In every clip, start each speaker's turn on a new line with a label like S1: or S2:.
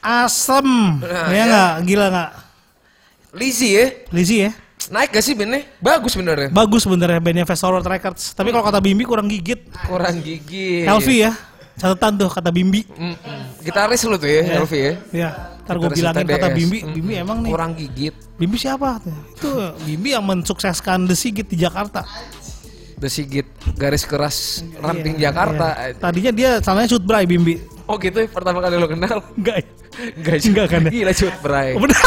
S1: asem.
S2: Nah,
S1: ya nggak? Gila nggak?
S2: Lizzy ya.
S1: Lizzy ya?
S2: Naik gak sih bandnya? Bagus benernya.
S1: Bagus bener ya bandnya Fast Forward Records. Tapi kalau kata Bimbi kurang gigit.
S2: Kurang gigi.
S1: Helvi ya? Catatan tuh kata Bimbi.
S2: Mm, mm. Gitaris lu tuh ya, Helvi ya.
S1: Ya, Iya. ntar gue
S2: Gitaris
S1: bilangin
S2: TDS.
S1: kata Bimbi. Bimbi emang nih.
S2: Hmm. Kurang gigit.
S1: Bimbi siapa? Itu Bimbi yang mensukseskan The Sigit di Jakarta.
S2: The Sigit garis keras ranting
S1: Iya,
S2: Jakarta.
S1: iya. Tadinya dia salahnya shoot Bray Bimbi.
S2: Oh gitu ya, pertama kali lo kenal.
S1: Enggak ya?
S2: Enggak
S1: Enggak kan ya?
S2: Gila cut bray.
S1: Bener.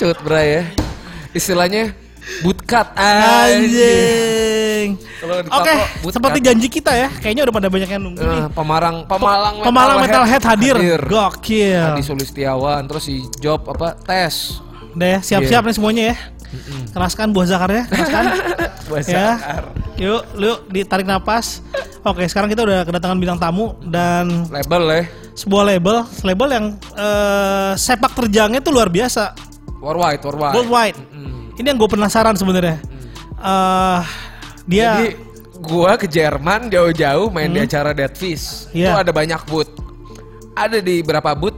S2: Cut bray ya. Istilahnya bootcut anjing.
S1: Anjing.
S2: Kalau di
S1: Oke,
S2: Papua, bootcut.
S1: seperti janji kita ya. Kayaknya udah pada banyak yang nunggu nih.
S2: Eh, Pemarang Pemalang
S1: Pemalang Metalhead hadir.
S2: Gokil.
S1: Gokil.
S2: Nah, Di Sulistiawan terus si Job apa tes.
S1: Udah ya,
S2: Iya.
S1: siap-siap nih semuanya ya. Keraskan buah zakarnya, keraskan.
S2: Buah
S1: Ya.
S2: zakar.
S1: Yuk, yuk ditarik napas. Oke, sekarang kita udah kedatangan bintang tamu dan
S2: Label ya.
S1: sebuah label, label yang eh, sepak terjangnya tuh luar biasa,
S2: Worldwide, worldwide.
S1: worldwide. Ini yang gue penasaran sebenarnya. Eh, dia
S2: Jadi gua ke Jerman jauh-jauh main di acara Dead Fish.
S1: Hmm. Iya.
S2: Itu ada banyak booth. Ada di berapa booth?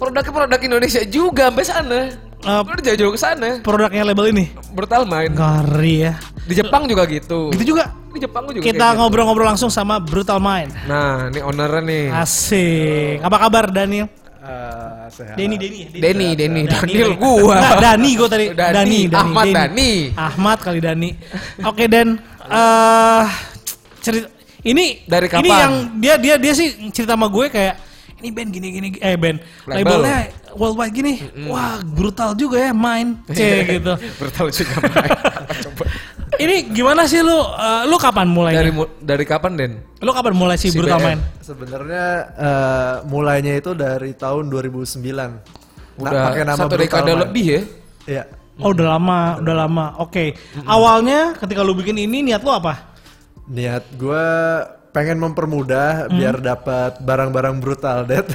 S2: Produknya produk Indonesia juga sampai sana.
S1: Eh,
S2: Lu udah jauh-jauh ke sana.
S1: produknya label ini
S2: Brutal main.
S1: ngeri ya.
S2: Di Jepang juga gitu.
S1: Itu juga
S2: Di Jepang gua juga
S1: kita
S2: kayak gitu.
S1: ngobrol-ngobrol langsung sama Brutal Mind.
S2: Nah, ini ownernya nih.
S1: Ah. Asik. Apa kabar Daniel?
S3: Eh, sehat.
S1: Denny, Denny. ya?
S2: Denny, Denny, Daniel
S1: Dani.
S2: gua.
S1: Nggak, Dani gua tadi.
S2: Dani, Ahmad Dani.
S1: Ahmad kali Dani. Oke Dan, eh cerita ini
S2: Dari kapan?
S1: Ini yang dia dia dia sih cerita sama gue kayak ini band gini gini eh band
S2: Label.
S1: labelnya worldwide gini. Wah brutal juga ya main c gitu.
S2: Brutal juga main. Apa Iya. coba?
S1: Ini gimana sih lu eh, lu kapan mulainya?
S2: Dari mu- dari kapan, Den?
S1: Lu kapan mulai sih
S2: Si
S1: brutal
S2: BM.
S1: main?
S3: Sebenarnya eh, mulainya itu dari tahun 2009. Nah,
S2: Udah
S3: pakai nama
S2: satu
S3: Brutal
S2: dekade
S3: Man.
S2: lebih ya.
S3: Iya.
S1: Oh udah lama, udah lama. Oke. Awalnya ketika lu bikin ini niat lu apa?
S3: Niat gue pengen mempermudah
S2: Hmm.
S3: biar dapat barang-barang brutal, Dad.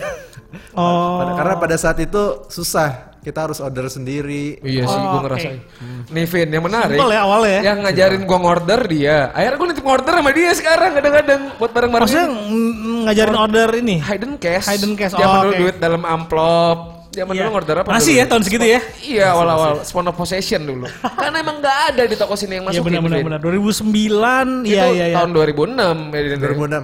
S1: Oh.
S3: Pada- karena pada saat itu susah. Kita harus order sendiri.
S2: Iya sih,
S1: Oh,
S2: gua
S1: oke.
S2: ngerasain. Nih Vin, yang menarik.
S1: Simpel ya awalnya ya.
S2: Yang ngajarin gua ngorder dia. Akhirnya gua nitip ngorder sama dia sekarang kadang-kadang buat barang-barang.
S1: Maksudnya
S2: ini.
S1: ng- ngajarin order ini?
S2: hidden cash.
S1: Oh, Hidden cash,
S2: Zaman
S1: oh,
S2: dulu
S1: oke.
S2: duit dalam amplop. Zaman
S1: Iya.
S2: dulu ngorder apa?
S1: Masih
S2: dulu?
S1: ya tahun segitu ya?
S2: Iya, awal-awal spawn of possession dulu. Karena emang nggak ada di toko sini yang
S1: Iya
S2: masukin.
S1: benar-benar
S2: Vin.
S1: benar. 2009 iya
S2: ya, Itu
S1: iya iya.
S2: tahun 2006 ya, Den.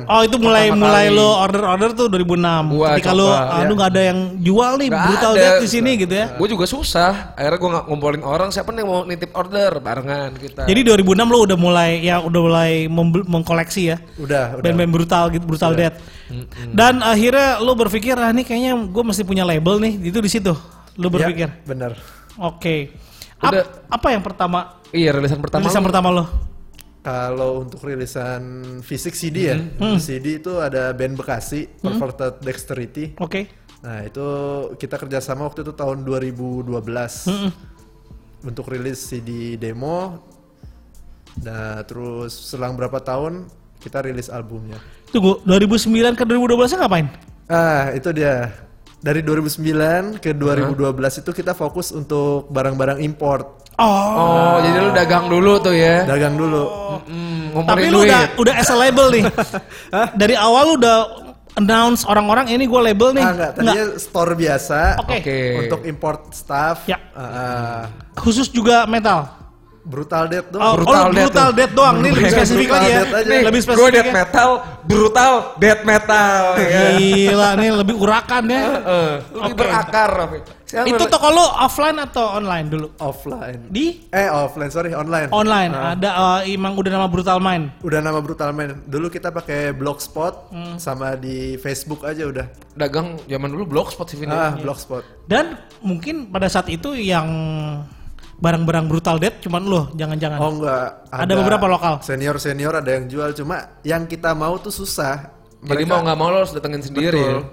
S3: 2006.
S1: Oh itu mulai
S2: Pertama
S1: mulai
S2: kali.
S1: lo order-order tuh 2006.
S2: Gua
S1: Ketika
S2: coba,
S1: lo
S2: ya.
S1: aduh nggak ada yang jual nih
S2: Nggak
S1: brutal
S2: ada.
S1: death di sini gitu ya.
S2: Gue juga susah. Akhirnya gue ngumpulin orang siapa nih yang mau nitip order barengan kita.
S1: Jadi 2006 lo udah mulai ya udah mulai membel- mengkoleksi ya.
S3: Udah, udah.
S1: Band-band brutal gitu,
S2: Iya.
S1: brutal death. Dan akhirnya lo berpikir ah nih kayaknya gue mesti punya label nih. Itu di situ lo
S3: Iya,
S1: berpikir.
S3: bener.
S1: Oke. Ap-
S2: Udah.
S1: apa yang pertama?
S2: iya rilisan pertama.
S1: Rilisan pertama lo?
S3: Kalau untuk rilisan fisik CD ya,
S2: Hmm.
S3: CD itu ada band Bekasi, Perverted Dexterity.
S1: Oke.
S3: Nah itu kita kerjasama waktu itu tahun 2012 untuk rilis CD demo. Nah terus selang berapa tahun kita rilis albumnya.
S1: Tunggu, 2009 ke 2012 -nya ngapain?
S3: Ah itu dia dari 2009 ke 2012 itu kita fokus untuk barang-barang import
S1: Oh,
S2: Oh, jadi lu dagang dulu tuh ya.
S3: dagang dulu.
S2: Mm,
S1: tapi
S2: ngumpulin
S1: lu
S2: duit.
S1: udah udah as a label nih. Dari awal lu udah announce orang-orang ini gua label nih.
S3: Ah enggak tadinya store
S1: Nah.
S3: biasa
S1: Oke.
S2: Oke.
S3: untuk import staff.
S1: Ya.
S3: Ah,
S1: Khusus juga metal.
S3: brutal death dong.
S1: Oh, brutal,
S2: Brutal Death
S1: brutal
S2: tuh.
S1: death doang. Ini lebih
S3: Brutal
S1: spesifik
S3: Death
S1: lagi ya.
S3: aja.
S2: Nih,
S1: Lebih
S2: Gue
S1: spesifik.
S2: death
S1: ya.
S2: metal, brutal death metal. ya.
S1: Gila, nih lebih urakan ya.
S2: Heeh, Lebih
S1: Oke.
S2: berakar. Rafi. Sekarang
S1: Itu
S2: lu-
S1: toko lu offline atau online dulu?
S3: Offline.
S1: Di
S3: eh offline sorry online.
S1: online. Ada eh, emang udah nama Brutal Mind.
S3: Udah nama Brutal Man. Dulu kita pakai Blogspot
S1: Hmm.
S3: sama di Facebook aja udah.
S2: dagang zaman dulu blogspot sih Vin.
S3: Ah, Blogspot.
S1: Dan mungkin pada saat itu yang barang-barang brutal death cuman lo, jangan-jangan.
S3: Oh enggak.
S1: Ah. Ada beberapa lokal?
S3: Senior-senior ada yang jual cuma yang kita mau tuh susah.
S2: Jadi mau nggak mau lo harus datengin sendiri.
S3: Betul.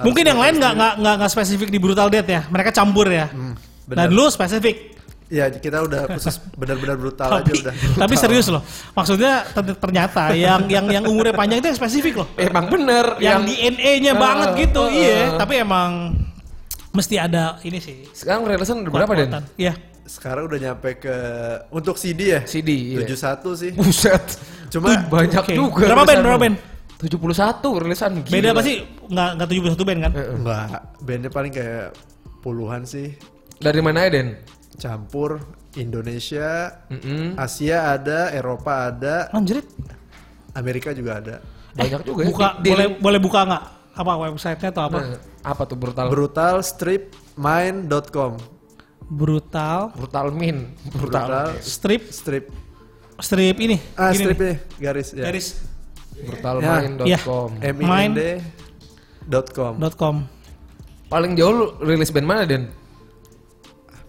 S1: Mungkin yang lain nggak nggak nggak nggak spesifik di brutal death ya, mereka campur ya.
S2: Hmm,
S1: Dan lu spesifik.
S3: Ya, kita udah khusus benar-benar brutal aja
S1: Tapi,
S3: udah.
S1: tapi serius loh. Maksudnya ter- ternyata yang yang yang umurnya panjang itu yang spesifik loh.
S2: Emang bener
S1: Yang, DNA-nya
S2: Eh,
S1: banget gitu,
S2: eh,
S1: iya.
S2: eh.
S1: Tapi emang mesti ada ini sih.
S2: sekarang rilisan udah berapa Den?
S1: kekuatan. Iya.
S3: Sekarang udah nyampe ke untuk CD ya?
S2: CD, iya.
S3: 71 sih.
S2: Buset.
S1: Tuh,
S3: Cuma
S2: Banyak
S1: Oke.
S2: juga.
S1: Berapa band?
S2: rilisan
S1: Berapa
S2: lu.
S1: band?
S2: 71 rilisan gila. Eh.
S1: Beda apa sih? Nggak nggak 71 band kan?
S3: Enggak, bandnya paling kayak puluhan sih.
S2: Dari mana ya, Den?
S3: Campur Indonesia,
S2: Mm-mm.
S1: Hmm.
S3: Asia ada, Eropa ada,
S1: Anjrit.
S3: Amerika juga ada.
S2: Banyak juga ya.
S1: Eh, Buka
S2: Di- di-
S1: boleh boleh buka nggak? Apa websitenya atau apa?
S2: Nah, apa tuh brutal?
S3: Brutalstripmine.com.
S1: Brutal
S2: brutal min. Brutal.
S3: Brutal
S1: strip
S3: strip.
S1: strip ini.
S3: Ah,
S1: gini
S3: strip
S1: nih,
S3: ya, garis ya.
S1: Garis Ya.
S2: Brutalmin.com.
S3: mind.com.
S1: dot com.
S2: Paling jauh lu rilis band mana, Den?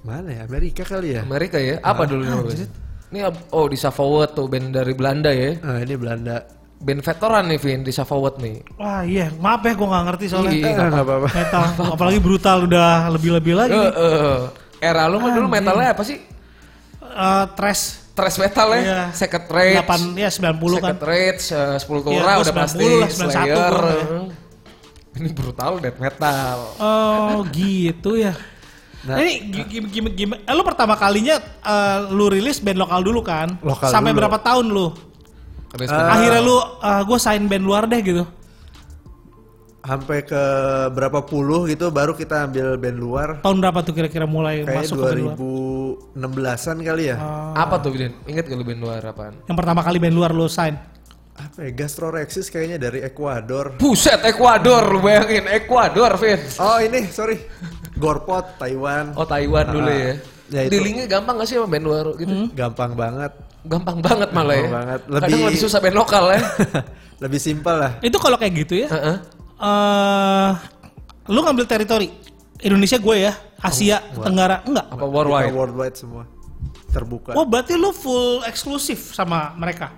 S3: Mana ya? Amerika kali ya?
S2: Amerika ya? Apa dulu nama band? Ini ab- oh di Savoort tuh band dari Belanda ya.
S3: Ah, ini Belanda.
S2: Band veteran nih Vin di Savoort nih.
S1: Wah iya, maaf ya gue nggak ngerti soalnya
S2: Iya.
S3: Eh, nggak apa-apa.
S1: metal. Apalagi brutal udah lebih-lebih lagi.
S2: Eh, eh, era lu mah dulu metalnya apa sih?
S1: Eh, trash
S2: Thrash metal ya?
S1: Iya.
S2: Second Rage.
S1: 8 ya 90 kan.
S2: Second Rage, eh, 10 Tora
S1: Iya, gua
S2: udah pasti.
S1: 90 lah, 91
S2: Slayer.
S1: gua ya.
S2: eh. Ini brutal death metal.
S1: Oh gitu ya.
S3: Nah.
S1: ini gimana, gimana, gimana? Eh, lu pertama kalinya eh, lu rilis band lokal dulu kan?
S3: Lokal
S1: Sampai
S3: dulu.
S1: berapa tahun lu? Eh.
S2: Rilis
S3: Ah.
S1: Akhirnya lu gue sign band luar deh gitu.
S3: Sampai ke berapa puluh gitu baru kita ambil band luar.
S1: Tahun berapa tuh kira-kira mulai
S3: Kayaknya
S1: masuk ke band luar?
S3: 2016-an kali ya.
S2: Apa tuh Den? Ingat gak lu band luar apaan?
S1: Yang pertama kali band luar lu sign.
S3: Apa ya? Gastrorexis kayaknya dari Ekuador.
S2: Buset, Ekuador, lu bayangin Ekuador, Vin.
S3: Oh ini, sorry. Gorpot, Taiwan.
S2: Oh Taiwan dulu
S3: Ah,
S2: ya.
S3: ya itu.
S2: Dealingnya gampang gak sih sama band luar gitu?
S3: Gampang banget.
S2: Gampang banget malah ya.
S3: Gampang banget.
S2: Kadang
S3: Lebih-
S2: lebih susah band lokal ya.
S3: Lebih simpel lah.
S1: Itu kalau kayak gitu ya.
S2: Heeh.
S1: eh lu ngambil teritori Indonesia gue ya, Asia,
S3: Oh,
S1: Tenggara, enggak.
S2: Apa
S3: Kita
S2: worldwide?
S3: worldwide semua. Terbuka.
S1: Oh berarti lu full eksklusif sama mereka.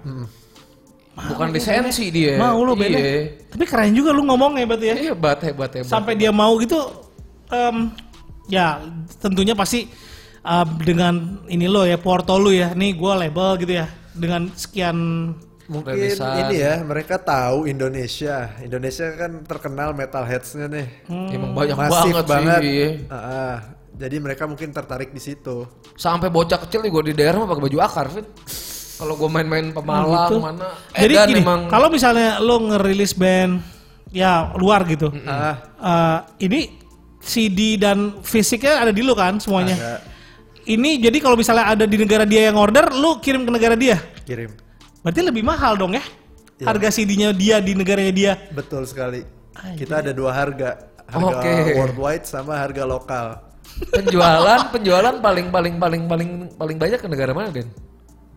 S2: Bukan lisensi dia.
S1: Mau lu
S2: Iya.
S1: bandnya. Tapi keren juga lu ngomongnya berarti ya.
S2: Hebat, hebat, hebat.
S1: Sampai dia mau gitu, em, ya tentunya pasti em, dengan ini lo ya, porto lu ya. Nih gue label gitu ya, dengan sekian.
S3: Mungkin
S2: Rilisan.
S3: ini ya, mereka tahu Indonesia. Indonesia kan terkenal metalheads-nya nih.
S2: Iya, Emang banyak
S3: Masif
S2: banget,
S3: banget.
S2: sih. iya.
S3: Ah, ah. jadi mereka mungkin tertarik di situ.
S2: Sampai bocah kecil gue di daerah mah pakai baju akar, Fit. Kalau gue main-main pemalang
S1: Gitu.
S2: mana?
S1: Jadi
S2: Edan
S1: gini,
S2: emang
S1: kalau misalnya lo ngerilis band ya luar gitu,
S2: Hmm.
S3: Ah,
S1: Eh, ini CD dan fisiknya ada di lu kan semuanya.
S3: ada.
S1: Ini jadi kalau misalnya ada di negara dia yang order, lu kirim ke negara dia.
S3: kirim.
S1: Berarti lebih mahal dong ya?
S2: Iya.
S1: Harga CD-nya dia di negaranya dia.
S3: Betul sekali. Kita ada dua harga. Harga
S2: Oke.
S3: worldwide sama harga lokal.
S2: penjualan, penjualan paling paling paling paling paling banyak ke negara mana, Den?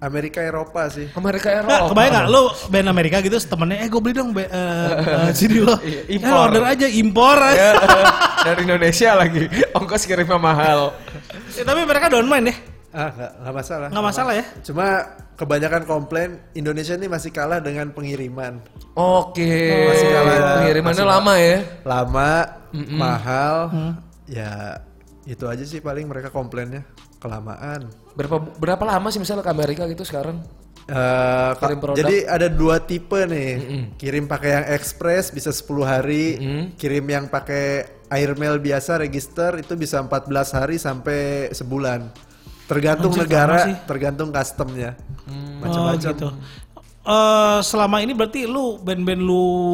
S3: Amerika Eropa sih.
S2: Amerika
S1: Nggak,
S2: Eropa.
S1: kebayang nggak? lu band Amerika gitu temennya, eh gue beli dong be- eh, eh, CD lo.
S2: Iya,
S1: Eh,
S2: impor.
S1: lu order aja, impor.
S2: Ya, dari Indonesia lagi. Ongkos kirimnya mahal.
S1: Ya, tapi mereka don't mind ya.
S3: Ah, nggak nggak masalah.
S1: Nggak masalah ya.
S3: Cuma kebanyakan komplain Indonesia ini masih kalah dengan pengiriman.
S2: Oke.
S3: Masih kalah.
S2: Pengirimannya
S3: Iya, Masih
S2: lama ya.
S3: Lama, mahal.
S2: Hmm.
S3: Ya itu aja sih paling mereka komplainnya kelamaan.
S2: Berapa berapa lama sih misalnya ke Amerika gitu sekarang?
S3: Eh, ka-
S2: Kirim produk.
S3: jadi ada dua tipe nih. Kirim pakai yang express bisa 10 hari, kirim yang pakai airmail biasa register itu bisa 14 hari sampai sebulan. Tergantung
S1: Anjir,
S3: negara,
S1: lama sih.
S3: tergantung customnya.
S1: Oh,
S3: Macam-macam.
S1: gitu. Eh, selama ini berarti lu band-band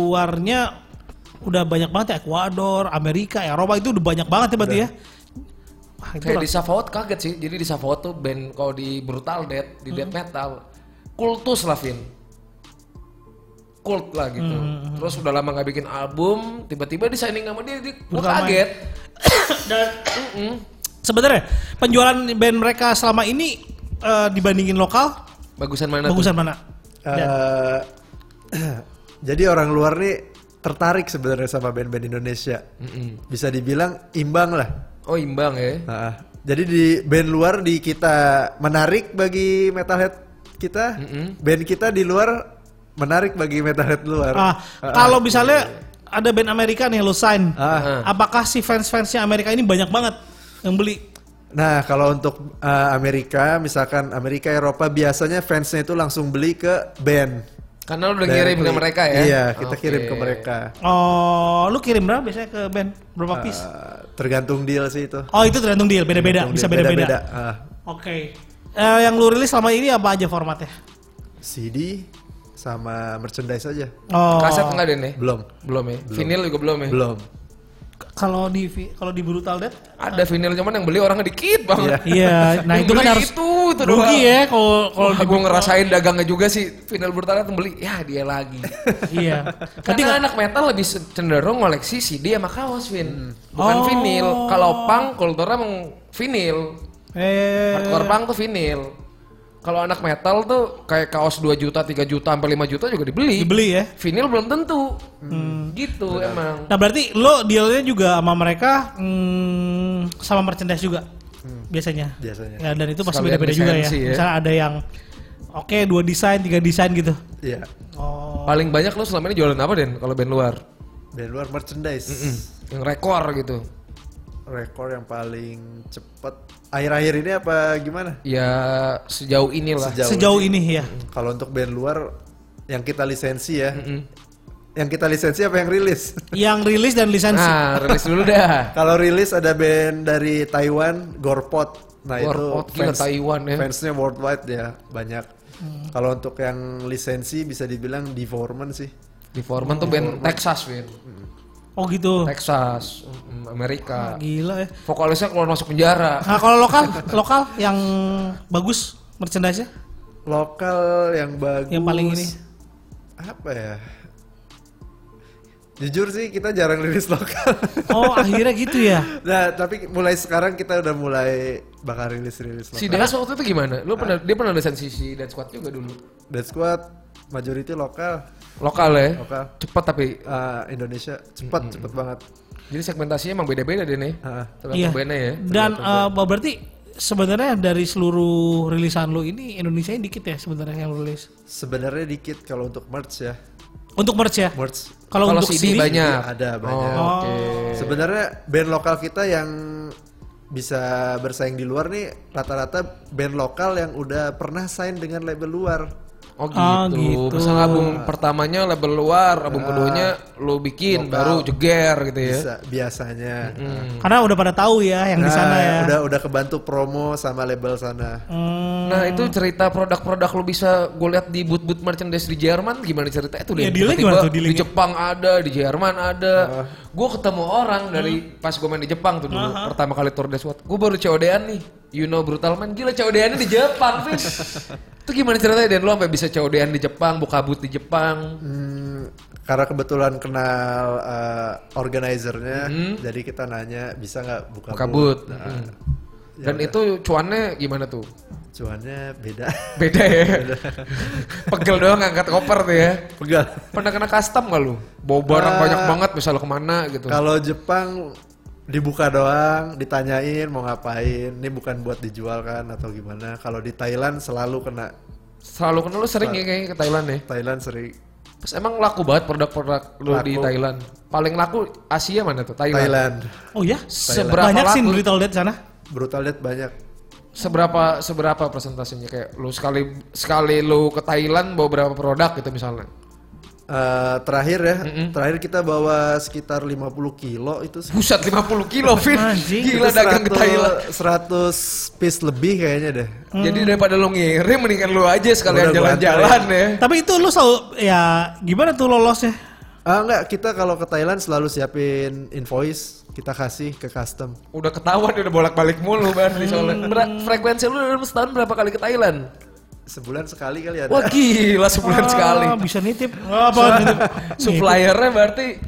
S1: luarnya udah banyak banget ya Ekuador, Amerika, Eropa itu udah banyak banget ya berarti ya. Ah, gitu Wah, itu
S2: Kayak di Savout kaget sih. Jadi di Savout tuh band kalau di brutal death, di
S3: Hmm.
S2: death metal, kultus lah Vin. Kult lah gitu.
S3: Hmm,
S2: Terus udah lama nggak bikin album, tiba-tiba di signing sama dia, dia gua
S1: Pertama.
S2: kaget.
S1: Dan sebenarnya penjualan band mereka selama ini eh, dibandingin lokal
S2: Bagusan mana tuh?
S1: bagusan mana?
S3: Eh, jadi orang luar nih tertarik sebenarnya sama band-band Indonesia. Bisa dibilang imbang lah.
S2: Oh imbang ya.
S3: Nah, jadi di band luar di kita menarik bagi metalhead kita, band kita di luar menarik bagi metalhead luar.
S1: Ah, kalau misalnya ada band Amerika nih lo sign,
S3: Ah.
S1: apakah si fans-fansnya Amerika ini banyak banget yang beli?
S3: Nah, kalau untuk eh, Amerika, misalkan Amerika Eropa biasanya fansnya itu langsung beli ke band.
S2: Karena lu udah
S3: Dan
S2: ngirim ke
S3: beli-
S2: mereka ya.
S3: Iya, kita
S2: Oke.
S3: kirim ke mereka.
S1: Oh, lu kirim berapa biasanya ke band? Berapa piece?
S3: Eh, tergantung deal sih itu.
S1: Oh, itu tergantung deal, beda-beda, bisa
S3: Beda-beda.
S1: beda-beda.
S3: Ah,
S1: Oke. Eh, yang lu rilis selama ini apa aja formatnya?
S3: CD, sama merchandise aja.
S1: Oh.
S2: Kaset enggak Den ya?
S3: Belum.
S2: Belum ya. Vinyl juga belum ya.
S3: Belum.
S1: Kalau di kalau di Brutal Death
S2: Ada vinyl cuman yang beli orangnya dikit banget.
S1: Iya, nah
S2: Yang
S1: itu kan
S2: beli
S1: harus
S2: itu, itu
S1: rugi
S2: doang.
S1: ya kalau kalau
S2: Wah,
S1: di-
S2: gue ngerasain dagangnya juga sih vinyl bertalat beli ya dia lagi
S1: iya. Ketika
S2: karena anak metal lebih se- cenderung koleksi CD sama kaos Vin bukan vinil kalau punk kulturnya emang vinil
S1: eh
S2: hardcore punk tuh vinil kalau anak metal tuh kayak kaos 2 juta 3 juta sampai 5 juta juga dibeli,
S1: dibeli ya.
S2: vinil belum tentu gitu emang
S1: Nah berarti lo dealnya juga sama mereka hmm, sama merchandise juga biasanya.
S3: Biasanya.
S1: Ya, dan itu pasti
S2: Hmm. Sekalian
S1: beda-beda juga ya.
S2: lisensi ya.
S1: Misalnya ada yang oke dua desain tiga desain gitu.
S3: Iya.
S1: Oh.
S2: paling banyak lu selama ini jualan apa Den kalau band luar
S3: Dari luar merchandise.
S2: yang rekor gitu
S3: Rekor yang paling cepat akhir-akhir ini apa gimana?
S2: ya sejauh inilah
S3: Sejauh-
S1: Sejauh ini ya.
S3: Kalau untuk band luar yang kita lisensi ya. Yang kita lisensi apa yang rilis?
S1: Yang rilis dan lisensi.
S2: nah rilis dulu dah
S3: Kalau rilis ada band dari Taiwan, Gorpot. Nah
S2: Gorpot,
S3: itu
S2: gila, Taiwan ya.
S3: Fansnya worldwide ya banyak. Kalau untuk yang lisensi bisa dibilang di Foreman sih.
S2: Di Foreman tuh band Texas, Win.
S1: Oh gitu.
S2: Texas, mm, Amerika.
S1: Gila ya.
S2: Vokalisnya keluar masuk penjara.
S1: Nah kalau lokal, lokal yang bagus merchandise-nya
S3: Lokal yang bagus.
S1: yang paling ini.
S3: apa ya? Jujur sih kita jarang rilis lokal.
S1: Oh akhirnya gitu ya.
S3: nah tapi mulai sekarang kita udah mulai bakal rilis rilis
S2: Si
S3: lokal.
S2: Dance waktu itu gimana? Lu pernah dia pernah desain sisi Dance Squad juga dulu.
S3: Dead Squad majority lokal,
S2: Lokal ya.
S3: lokal.
S2: Cepat tapi
S3: Ah, Indonesia cepat cepet banget.
S2: jadi segmentasinya emang beda-beda deh nih.
S3: Ah.
S2: Tergantung bandnya ya.
S1: Iya. Dan eh, berarti sebenarnya dari seluruh rilisan lo ini Indonesia ini dikit ya sebenarnya yang lo rilis.
S3: Sebenarnya dikit kalau untuk merch ya.
S1: Untuk merch ya.
S3: Merch
S1: Kalau
S2: Kalau
S1: untuk CD,
S2: CD, banyak.
S3: ya, ada banyak.
S2: Oh,
S1: oke.
S3: Sebenarnya band lokal kita yang bisa bersaing di luar nih rata-rata band lokal yang udah pernah sign dengan label luar.
S2: Oh gitu.
S1: Ah, gitu.
S2: Misalnya album pertamanya label luar, album keduanya lu bikin baru jeger gitu ya.
S3: Bisa biasanya.
S1: hmm. karena udah pada tahu ya yang di
S3: Nah,
S1: sana ya.
S3: udah udah kebantu promo sama label sana.
S1: Hmm,
S2: Nah itu cerita produk-produk lu bisa gue lihat di boot-boot merchandise di Jerman gimana cerita itu
S1: Iya, dealnya Ah.
S2: deh. Tiba-tiba
S1: gimana tuh
S2: Di
S1: dealingnya?
S2: Jepang ada, di Jerman ada. Gue ketemu orang
S1: Hmm.
S2: dari pas gue main di Jepang tuh dulu pertama kali tour Death Gue baru COD-an nih. You know brutal man, gila COD-annya di Jepang Fis. itu gimana ceritanya dan lu sampai bisa COD-an di Jepang, buka boot di Jepang.
S3: Hmm, karena kebetulan kenal eh, organizernya, jadi kita nanya bisa nggak buka,
S2: Buka
S3: booth?
S2: boot.
S1: nah.
S2: Mm.
S1: Ya,
S2: Dan itu cuannya gimana tuh?
S3: Cuannya beda.
S2: Beda ya. Pegel doang ngangkat koper tuh ya.
S3: Pegal.
S2: Pernah kena custom gak lu? Bawa barang
S3: Ah.
S2: banyak banget misal lu kemana gitu.
S3: Kalau Jepang dibuka doang, ditanyain mau ngapain, ini bukan buat dijual kan atau gimana. Kalau di Thailand selalu kena.
S2: Selalu kena lu sering ya kayaknya ke Thailand ya.
S3: Thailand sering
S2: Terus emang laku banget produk-produk lu di
S3: Laku.
S2: Thailand. Paling laku Asia mana tuh? Thailand.
S3: Thailand.
S1: oh ya,
S2: Seberapa
S1: banyak sih
S2: laku?
S1: brutal death sana.
S3: Brutal Death banyak.
S2: Seberapa seberapa presentasinya kayak lu sekali sekali lu ke Thailand bawa berapa produk gitu misalnya.
S3: Eh, terakhir ya, terakhir kita bawa sekitar 50 kilo itu
S2: Buset 50 kilo Vin.
S1: Anjing.
S2: Gila
S3: Itu
S2: dagang ke
S3: 100
S2: Thailand.
S3: 100 piece lebih kayaknya deh.
S2: Jadi daripada lu ngirim mendingan lu aja sekalian
S3: Hmm. Udah, gua
S2: jalan-jalan ya.
S1: Tapi itu lo selalu ya gimana tuh lolosnya?
S3: Ah enggak, kita kalau ke Thailand selalu siapin invoice, kita kasih ke custom.
S2: Udah ketahuan udah bolak-balik mulu banget di
S3: Hmm.
S2: soalnya. Ber- Frekuensi lu dalam setahun berapa kali ke Thailand?
S3: Sebulan sekali kali ada.
S2: Wah gila
S1: Ah,
S2: sebulan sekali.
S1: Bisa nitip. Apa nitip?
S2: Suppliernya berarti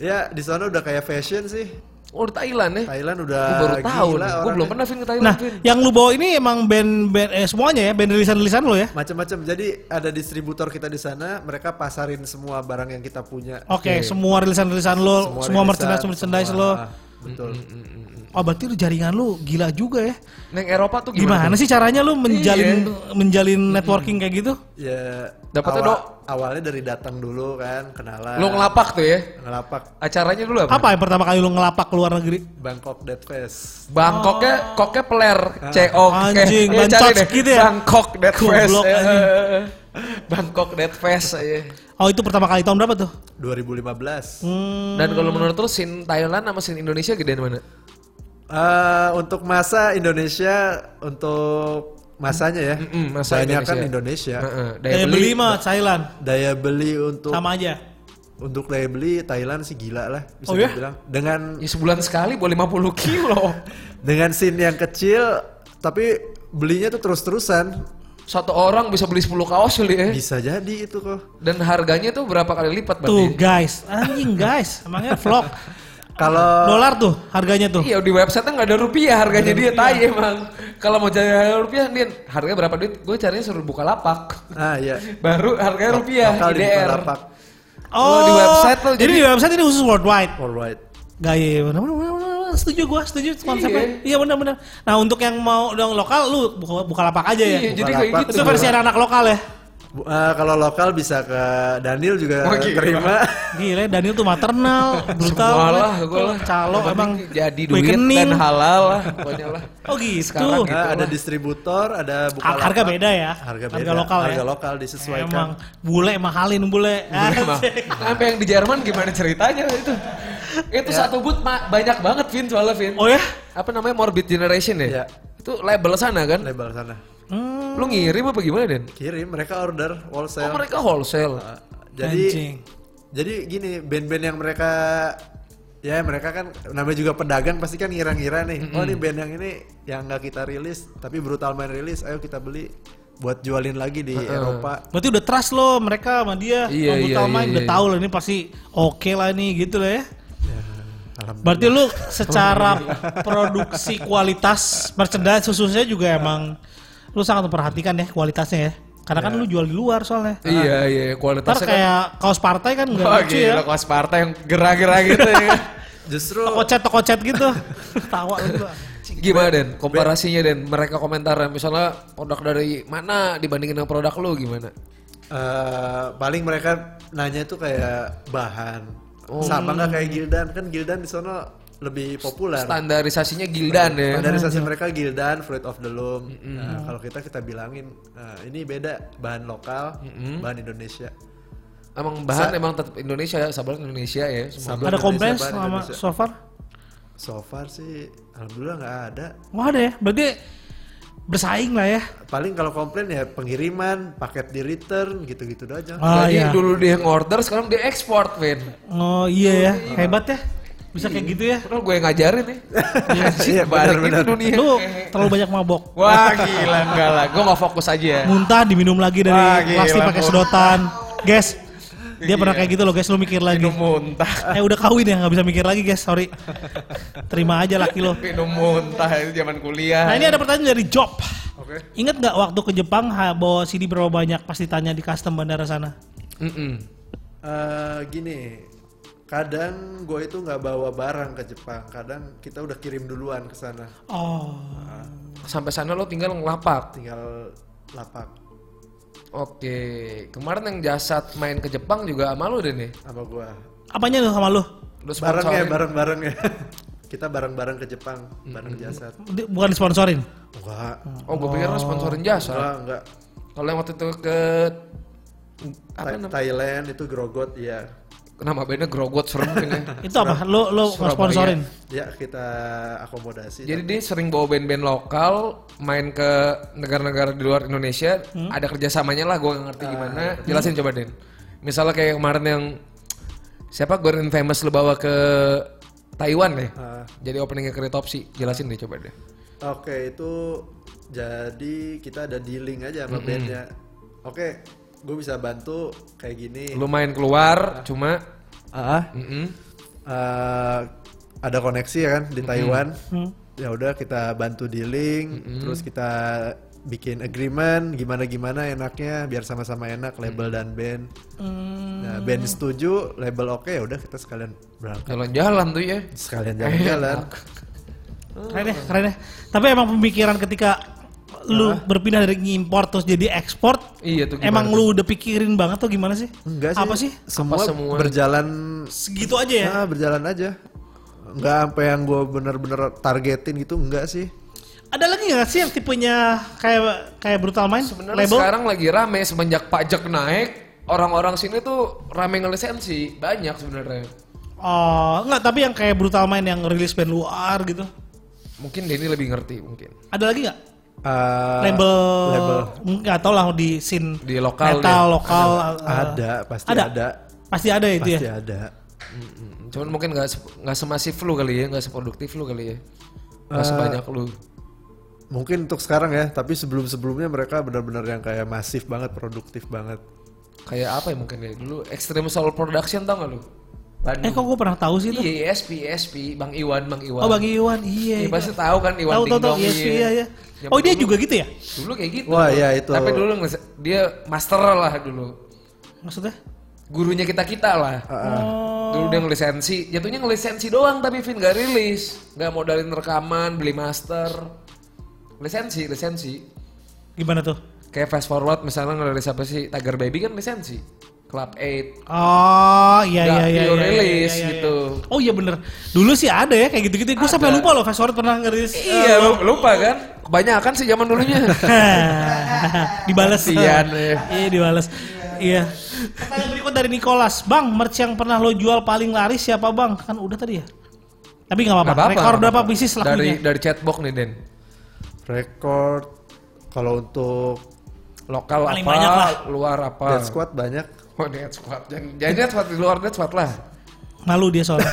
S3: Ya, di sana udah kayak fashion sih.
S2: oh di Thailand ya.
S3: Thailand
S2: Gue
S3: udah
S2: baru tahu.
S3: gila
S2: nih. Gue
S3: orangnya.
S2: belum pernah Vin ke Thailand
S1: Nah,
S2: Vin.
S1: yang lu bawa ini emang band band eh, semuanya ya, band rilisan-rilisan lo ya.
S3: Macam-macam. Jadi ada distributor kita di sana, mereka pasarin semua barang yang kita punya.
S1: Oke, semua rilisan-rilisan lo, Oh, semua,
S3: rilisan,
S1: merchandise merchandise
S3: semua.
S1: lo.
S3: Ah, Betul.
S1: Oh, berarti lu jaringan lu gila juga ya.
S2: Neng Eropa tuh gimana?
S1: Gimana sih caranya lu menjalin menjalin networking kayak gitu?
S3: Ya
S2: Dapatnya
S3: awal-
S2: dok.
S3: awalnya dari datang dulu kan, kenalan.
S2: Lu ngelapak tuh ya.
S3: ngelapak
S2: Acaranya dulu apa?
S1: Apa yang pertama kali lu ngelapak ke luar negeri?
S3: Bangkok Dead Fest.
S2: Bangkoknya koknya peler,
S3: Ah.
S2: CO
S1: Ah. Anjing, bancos gitu ya?
S2: Eh, Bangkok Dead Fest.
S1: Goblok,
S2: ya.
S1: anjing.
S2: Bangkok Dead Fest ya.
S1: Oh, itu pertama kali tahun berapa tuh?
S3: 2015.
S2: Dan kalau menurut lu scene Thailand sama scene Indonesia gedean mana?
S3: Eh, untuk masa Indonesia untuk masanya ya.
S2: Mm-mm, masa
S3: Banyak kan
S2: Indonesia.
S3: Indonesia.
S2: Heeh, daya
S1: Daya beli mah Thailand
S3: Daya beli untuk
S1: sama aja.
S3: untuk daya beli Thailand sih gila lah bisa
S1: Oh ya?
S3: dibilang. Dengan
S2: Ya sebulan sekali buat 50 kilo.
S3: dengan scene yang kecil tapi belinya tuh terus-terusan
S2: Satu orang bisa beli 10 kaos kali ya.
S3: bisa jadi itu kok.
S2: Dan harganya tuh berapa kali lipat
S1: Tuh
S2: berarti? ya.
S1: guys, anjing guys, emangnya vlog
S3: Kalau
S1: dolar tuh harganya tuh.
S2: Iya di website nggak ada rupiah harganya dia tai emang. Kalau mau cari harga rupiah, Din, harganya berapa duit? Gue carinya suruh buka lapak.
S3: ah ya
S2: Baru harganya rupiah,
S3: lokal di
S2: IDR.
S3: lapak
S2: Oh, di website lo
S1: jadi,
S2: jadi-
S1: di website ini khusus worldwide.
S3: worldwide.
S1: Gaya, benar benar, benar, benar. setuju gua, setuju konsepnya. Iya benar-benar. Nah untuk yang mau dong lokal, lu buka, buka lapak aja ya.
S2: Iya, jadi kayak
S3: lapak.
S2: gitu.
S1: Itu versi anak-anak lokal ya.
S3: Bu- ah, kalau lokal bisa ke Daniel juga
S2: Wah, Oh, gila.
S3: terima.
S1: Gila, Daniel tuh maternal, brutal.
S2: Semua lah, gue lah.
S1: Calo
S2: Yang penting
S1: emang
S2: jadi
S1: kue
S2: duit
S1: kening.
S2: dan halal lah, pokoknya lah.
S1: Oh gitu.
S2: Sekarang ya.
S3: Ah, ada distributor, ada buka
S1: Har- harga
S3: lapak.
S1: beda ya.
S3: Harga
S1: Harga
S3: beda.
S1: lokal ya.
S3: Harga lokal disesuaikan.
S1: Emang bule mahalin bule.
S2: Boleh, Bang. Sampai yang di Jerman gimana ceritanya itu? Itu satu boot ma- banyak banget Vin soalnya Vin.
S1: Oh ya?
S2: Apa namanya Morbid Generation ya?
S3: Iya.
S2: Itu label sana kan?
S3: Label sana.
S1: Hmm,
S2: Lu ngirim apa gimana Den?
S3: Kirim mereka order
S2: Oh
S3: wholesale.
S2: mereka wholesale.
S3: Ah, jadi
S1: anjing.
S3: jadi gini band-band yang mereka ya mereka kan namanya juga pedagang pasti kan ngira-ngira nih. Oh ini band yang ini yang nggak kita rilis tapi brutal main rilis. Ayo kita beli buat jualin lagi di Eropa.
S1: Berarti udah trust lo mereka sama dia. Om
S2: Iya, iya,
S1: Utama
S2: iya,
S1: udah
S2: iya.
S1: tahu lah ini pasti oke lah nih gitu lah ya.
S3: Ya, alhamdulillah.
S1: Berarti lu secara produksi kualitas merchandise khususnya juga
S2: Iya.
S1: emang lu sangat memperhatikan ya kualitasnya ya. Karena kan lu jual di luar soalnya.
S2: Iya iya
S1: Ntar
S2: kualitasnya kan.
S1: kayak kaos partai kan nggak
S2: Wah
S1: lucu ya.
S2: gila kuas partai yang gerak-gerak gitu ya. kan?
S3: Justru
S1: Toko cet, toko cet gitu. Tawa lu gua.
S2: Gimana Den? Komparasinya Den? Mereka komentar misalnya produk dari mana dibandingin dengan produk lu gimana?
S3: eh, paling mereka nanya tuh kayak bahan. Sama nggak kayak Gildan kan Gildan di sana lebih populer.
S2: Standarisasinya Gildan ya.
S3: Standarisasi mereka Gildan, Fruit of the Loom. Nah, kalau kita kita bilangin nah, ini beda bahan lokal, bahan Indonesia.
S2: Emang bahan emang tetap Indonesia ya, sablon Indonesia ya.
S1: Ada
S2: Semua.
S3: Sablon Indonesia,
S1: komplain
S3: bahan
S1: selama
S3: Indonesia.
S1: so far?
S3: So far sih alhamdulillah nggak ada.
S1: Wah ada ya. Berarti bersaing lah ya.
S3: Paling kalau komplain ya pengiriman, paket di return gitu-gitu aja.
S1: Ah
S2: Jadi
S1: iya.
S2: dulu dia yang order, sekarang dia ekspor, Vin.
S1: Oh iya ya. Hebat ya. Bisa kayak gitu ya.
S2: Padahal gue yang ngajarin nih. Anjing,
S3: iya,
S2: balik
S3: benar,
S2: itu dunia.
S1: Lu terlalu banyak mabok.
S2: Wah gila, enggak lah. Gue gak fokus aja. ya.
S1: muntah diminum lagi dari
S2: Wah, Ah, gila,
S1: plastik pakai
S2: Bu.
S1: sedotan. Guys, dia pernah kayak gitu loh guys, lu mikir lagi.
S2: Minum muntah.
S1: Eh udah kawin ya, nggak bisa mikir lagi guys, sorry. Terima aja laki lo.
S2: Minum muntah itu zaman kuliah.
S1: Nah ini ada pertanyaan dari Job.
S2: Oke.
S1: Ingat nggak waktu ke Jepang ha, bawa CD berapa banyak pas ditanya di custom bandara sana?
S2: Mm-mm.
S3: Eh, gini, kadang gue itu nggak bawa barang ke Jepang, kadang kita udah kirim duluan ke sana,
S1: Oh,
S2: Sampai sana lo tinggal ngelapak.
S3: tinggal lapak
S2: Oke. Kemarin yang jasad main ke Jepang juga sama lo deh nih.
S3: sama ya, gue.
S1: apanya lu sama lu?
S2: Lo
S3: Barangnya,
S2: sponsorin.
S3: bareng-barengnya. kita bareng-bareng ke Jepang, bareng jasad.
S1: Di- Bukan disponsorin.
S3: Enggak,
S2: Oh gue pikir lo sponsorin jasa.
S3: enggak, enggak.
S2: Kalau yang waktu itu ke... Apa
S3: Tha- Thailand itu grogot, ya.
S2: Nama bandnya Grogot serem
S3: Iya.
S2: ini.
S1: Itu apa? Lu lu nggak sponsorin?
S3: Ya kita akomodasi.
S2: Jadi dia sering bawa band-band lokal main ke negara-negara di luar Indonesia.
S3: Hmm?
S2: Ada kerjasamanya lah, gue ngerti
S3: Ah,
S2: gimana.
S3: iya.
S2: Jelasin coba Den. Misalnya kayak kemarin yang siapa Gordon Famous lu bawa ke Taiwan ya.
S3: Ah.
S2: Jadi openingnya Keritopsi, jelasin deh coba deh.
S3: Oke itu jadi kita ada dealing aja sama bandnya. Oke, gue bisa bantu kayak gini.
S2: Lu main keluar, cuma
S3: Ah,
S2: mm-mm.
S3: eh, ada koneksi ya kan di Taiwan. Ya udah kita bantu dealing, terus kita bikin agreement gimana gimana enaknya biar sama-sama enak label dan band.
S1: Mm.
S3: Nah, band setuju, label oke ya udah kita sekalian berangkat.
S2: jalan-jalan tuh ya.
S3: Sekalian jalan-jalan.
S1: Keren ya, keren ya. Tapi emang pemikiran ketika lu berpindah dari ngimpor terus jadi ekspor,
S2: Iya tuh. gimana
S1: emang
S2: tuh?
S1: lu udah pikirin banget atau gimana sih?
S3: Enggak sih.
S1: Apa sih?
S3: Semua,
S2: Apa semua?
S3: berjalan
S1: Segitu aja ya.
S3: ah, berjalan aja. Enggak sampai yang gue bener-bener targetin gitu enggak sih.
S1: Ada lagi nggak sih yang tipenya kayak kayak brutal main
S2: Sebenarnya
S1: label?
S2: sekarang lagi rame semenjak pajak naik, orang-orang sini tuh rame ngelisensi banyak sebenarnya.
S1: Oh, enggak, tapi yang kayak brutal main yang rilis band luar gitu.
S2: Mungkin Denny lebih ngerti mungkin.
S1: Ada lagi nggak?
S3: eh,
S1: label,
S3: label.
S1: nggak tau lah di scene
S2: Di lokal
S1: metal
S2: deh.
S1: lokal eh,
S3: ada pasti
S1: ada.
S3: ada,
S1: pasti ada itu
S3: pasti
S1: ya
S3: ada
S2: Mm-mm. Cuman mungkin nggak se- nggak semasif lu kali ya, nggak seproduktif lu kali ya, nggak
S1: Eh.
S2: sebanyak lu.
S3: mungkin untuk sekarang ya tapi sebelum sebelumnya mereka benar-benar yang kayak masif banget produktif banget
S2: Kayak apa ya mungkin ya dulu Extreme Soul Production tau nggak lu?
S1: eh kok gue pernah tahu sih itu
S2: Iya, ESP, ESP, Bang Iwan, Bang Iwan.
S1: oh bang Iwan iya
S2: Iya,
S1: iya.
S2: pasti tahu kan Iwan
S1: tahu tahu tahu
S2: Dingdong,
S1: iya
S2: iya.
S1: iya iya oh dia juga gitu ya
S2: Dulu kayak gitu.
S3: Wah, iya, itu.
S2: Tapi dulu nge- dia master lah dulu.
S1: maksudnya
S2: Gurunya kita-kita lah.
S1: Oh.
S3: Ah,
S2: Dulu dia ngelisensi, jatuhnya ngelisensi doang tapi Vin nggak rilis. Nggak modalin rekaman, beli master. Lisensi, lisensi.
S1: gimana tuh
S2: Kayak fast forward misalnya ngerilis apa sih? Tiger Baby kan lisensi. Club 8.
S1: Oh iya
S2: Nggak
S1: iya iya.
S2: pure
S1: iya, iya,
S2: rilis
S1: iya, iya.
S2: gitu.
S1: Oh iya bener. Dulu sih ada ya kayak gitu-gitu. Gue sampai lupa loh Fast Forward pernah eh, ngerilis.
S2: Iya, lu- lupa kan? Kebanyakan sih zaman dulunya.
S1: dibales.
S2: Kasian, eh.
S1: Iya dibales. Iya. Pertanyaan berikut dari Nicholas. Bang, merch yang pernah lo jual paling laris siapa bang? Kan udah tadi ya. Tapi nggak
S2: Nggak
S1: apa-apa.
S2: apa-apa,
S1: Rekor
S2: nggak
S1: berapa
S2: apa-apa.
S1: bisnis
S2: Dari
S1: lakunya?
S2: dari chatbox nih Den.
S3: record kalau untuk
S2: Lokal
S1: Paling
S2: apa,
S1: banyak lah.
S2: luar apa.
S3: dead squad banyak
S2: Oh, dead squad. Jangan, jangan dead squad di luar dead squad lah.
S1: Malu dia soalnya.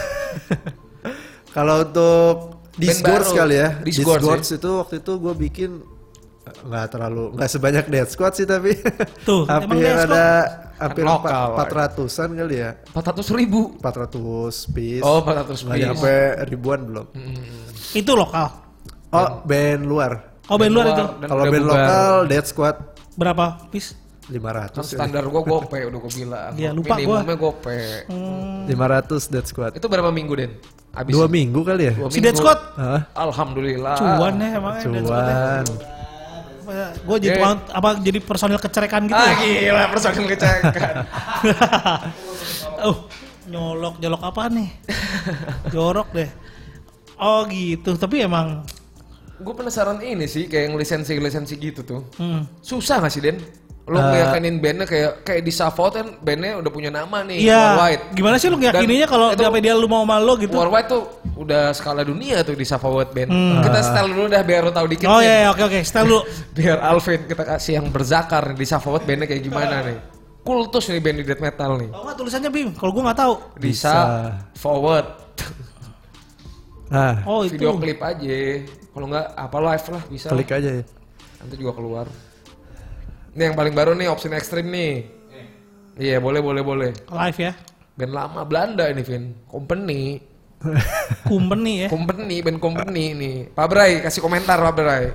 S3: kalau untuk disgorge
S2: baru.
S3: kali ya
S2: Disgorge,
S3: itu waktu itu gue bikin eh, nggak terlalu nggak sebanyak dead squad sih tapi
S1: Tuh, emang
S3: hampir
S1: Dead Squad?
S3: ada hampir
S2: Kan lokal,
S3: empat ratusan kali ya
S2: 400 ribu.
S3: 400 piece
S2: Oh, 400
S3: nggak
S2: piece.
S3: nyampe ribuan belum
S1: Itu lokal.
S3: oh band luar
S1: Oh band luar itu
S2: Dan
S3: kalau
S2: udah kan
S3: band
S2: bubar.
S3: lokal dead squad
S1: berapa piece?
S3: 500
S2: Kan
S3: ya.
S2: standar gua gope udah gua bilang.
S1: Iya, lupa Hmm.
S2: Minimumnya gope.
S3: 500 dead squad
S2: Itu berapa minggu Den? Abis
S3: dua minggu kali ya
S2: Dua
S1: Si Dead
S2: minggu.
S1: Squad
S3: Hah?
S2: Alhamdulillah.
S1: cuan ya emang
S3: cuan
S1: Gue jadi
S2: Oke.
S1: tukang- apa jadi personil kecerekan gitu. ya?
S2: Ah gila persoalan kecekan.
S1: oh, nyolok nyolok apa nih? Jorok deh. Oh gitu, tapi emang
S2: gue penasaran ini sih kayak ngelisensi lisensi gitu tuh.
S1: hmm,
S2: Susah gak sih Den?
S3: Eh.
S2: Lo ngeyakinin bandnya kayak kayak di Savo kan bandnya udah punya nama nih.
S1: iya.
S2: Worldwide.
S1: Gimana sih lu yakininya
S2: Dan
S1: kalau
S2: itu-
S1: sampai dia lu mau sama lo gitu?
S2: Worldwide tuh udah skala dunia tuh di Savo World Band. Kita
S3: Ah.
S2: setel dulu dah biar lo tahu dikit.
S1: Hmm. Oh
S2: nih.
S1: iya, iya, oke oke, setel dulu.
S2: Biar Alvin kita kasih yang berzakar nih di Safawat bandnya kayak gimana nih. Kultus nih band di death metal nih.
S1: Tahu nggak tulisannya Bim? Kalau gua nggak tahu.
S2: Bisa forward.
S3: nah
S1: Oh itu.
S2: Video klip aja. Kalau nggak apa live lah bisa.
S3: klik aja ya
S2: Nanti juga keluar. Ini yang paling baru nih option ekstrim nih. Iya boleh boleh boleh.
S1: Live ya.
S2: Band lama Belanda ini Vin. Company.
S1: Kumpen nih ya.
S2: Company, band company nih. Pak Bray, kasih komentar Pak Bray.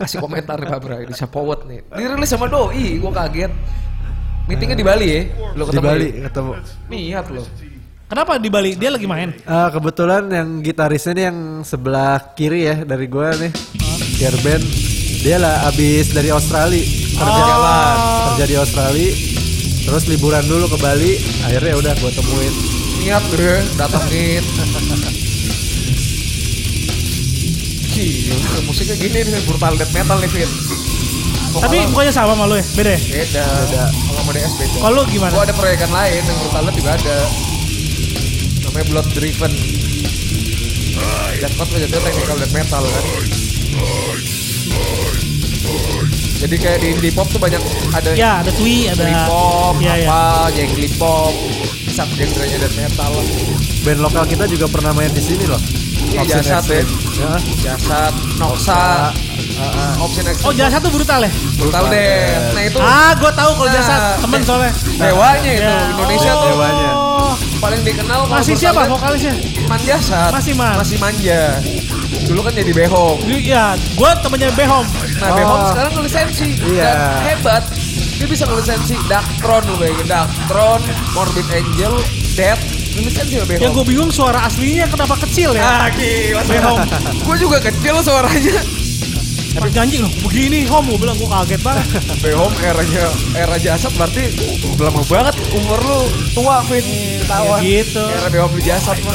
S2: Kasih komentar nih Pak Bray, di Sapowet nih. Dirilis sama Doi, gua kaget. Meetingnya di Bali ya? Lo
S3: di
S2: ketemu
S3: Bali ketemu
S2: Niat lo.
S1: Kenapa di Bali? Dia lagi main.
S3: Ah, kebetulan yang gitarisnya nih yang sebelah kiri ya dari gua nih Gear band dia lah abis dari Australia kerja
S2: Oh.
S3: jalan kerja di Australia terus liburan dulu ke Bali akhirnya udah gua temuin
S2: Niat lo ya, datangin. Gila, musiknya gini nih, brutal death metal nih, Vin.
S1: Tapi mukanya sama sama lo ya, beda ya.
S2: Beda, Kalau mau DS beda.
S1: Kalau lu gimana?
S2: Gua ada proyekan lain yang brutal death juga ada. Namanya Blood Driven. Jackpot lo jatuh technical death metal kan. Jadi kayak di indie pop tuh banyak ada
S1: Ya, ada Twi, ada.
S2: indie pop,
S1: Iya, iya.
S2: apa, jangly pop, sub genre-nya death metal. lah.
S3: band lokal kita juga pernah main di sini loh
S2: Iya,
S3: Option
S2: jasad ya. ah,
S3: Extreme. ya
S2: Jasad, Noxa, Option
S1: Oh,
S2: Extreme,
S1: jalan satu brutal ya?
S2: Brutal Death. Nah itu
S1: Ah, gua tahu kalau
S2: Nah,
S1: jasad temen
S2: de-
S1: soalnya.
S2: dewanya itu
S1: Ya.
S2: Indonesia tuh
S3: Dewanya.
S1: Oh,
S2: paling dikenal kalau
S1: masih
S2: Brutal
S1: siapa
S2: Death.
S1: vokalisnya?
S2: Manjasat.
S1: Masih man.
S2: Masih manja. Dulu kan jadi behong.
S1: Iya, gue temennya Behom.
S2: Nah,
S3: Oh.
S2: behong sekarang ngelisensi
S3: Iya.
S2: dan hebat. Dia bisa ngelisensi Darktron lu bayangin Darktron, Morbid Angel, Death, ngelisensi sama behong.
S1: Yang
S3: Ya
S1: gue bingung suara aslinya kenapa kecil ya?
S2: Ah, gila.
S1: Behong.
S2: Gue juga kecil suaranya.
S1: Pas nyanyi loh, begini Hom, gue bilang gue kaget banget.
S2: Behom eranya era jasad berarti lama banget umur lu tua Vin
S3: Iya,
S2: ketahuan.
S1: Ya gitu.
S2: Era Behom di jasad mah.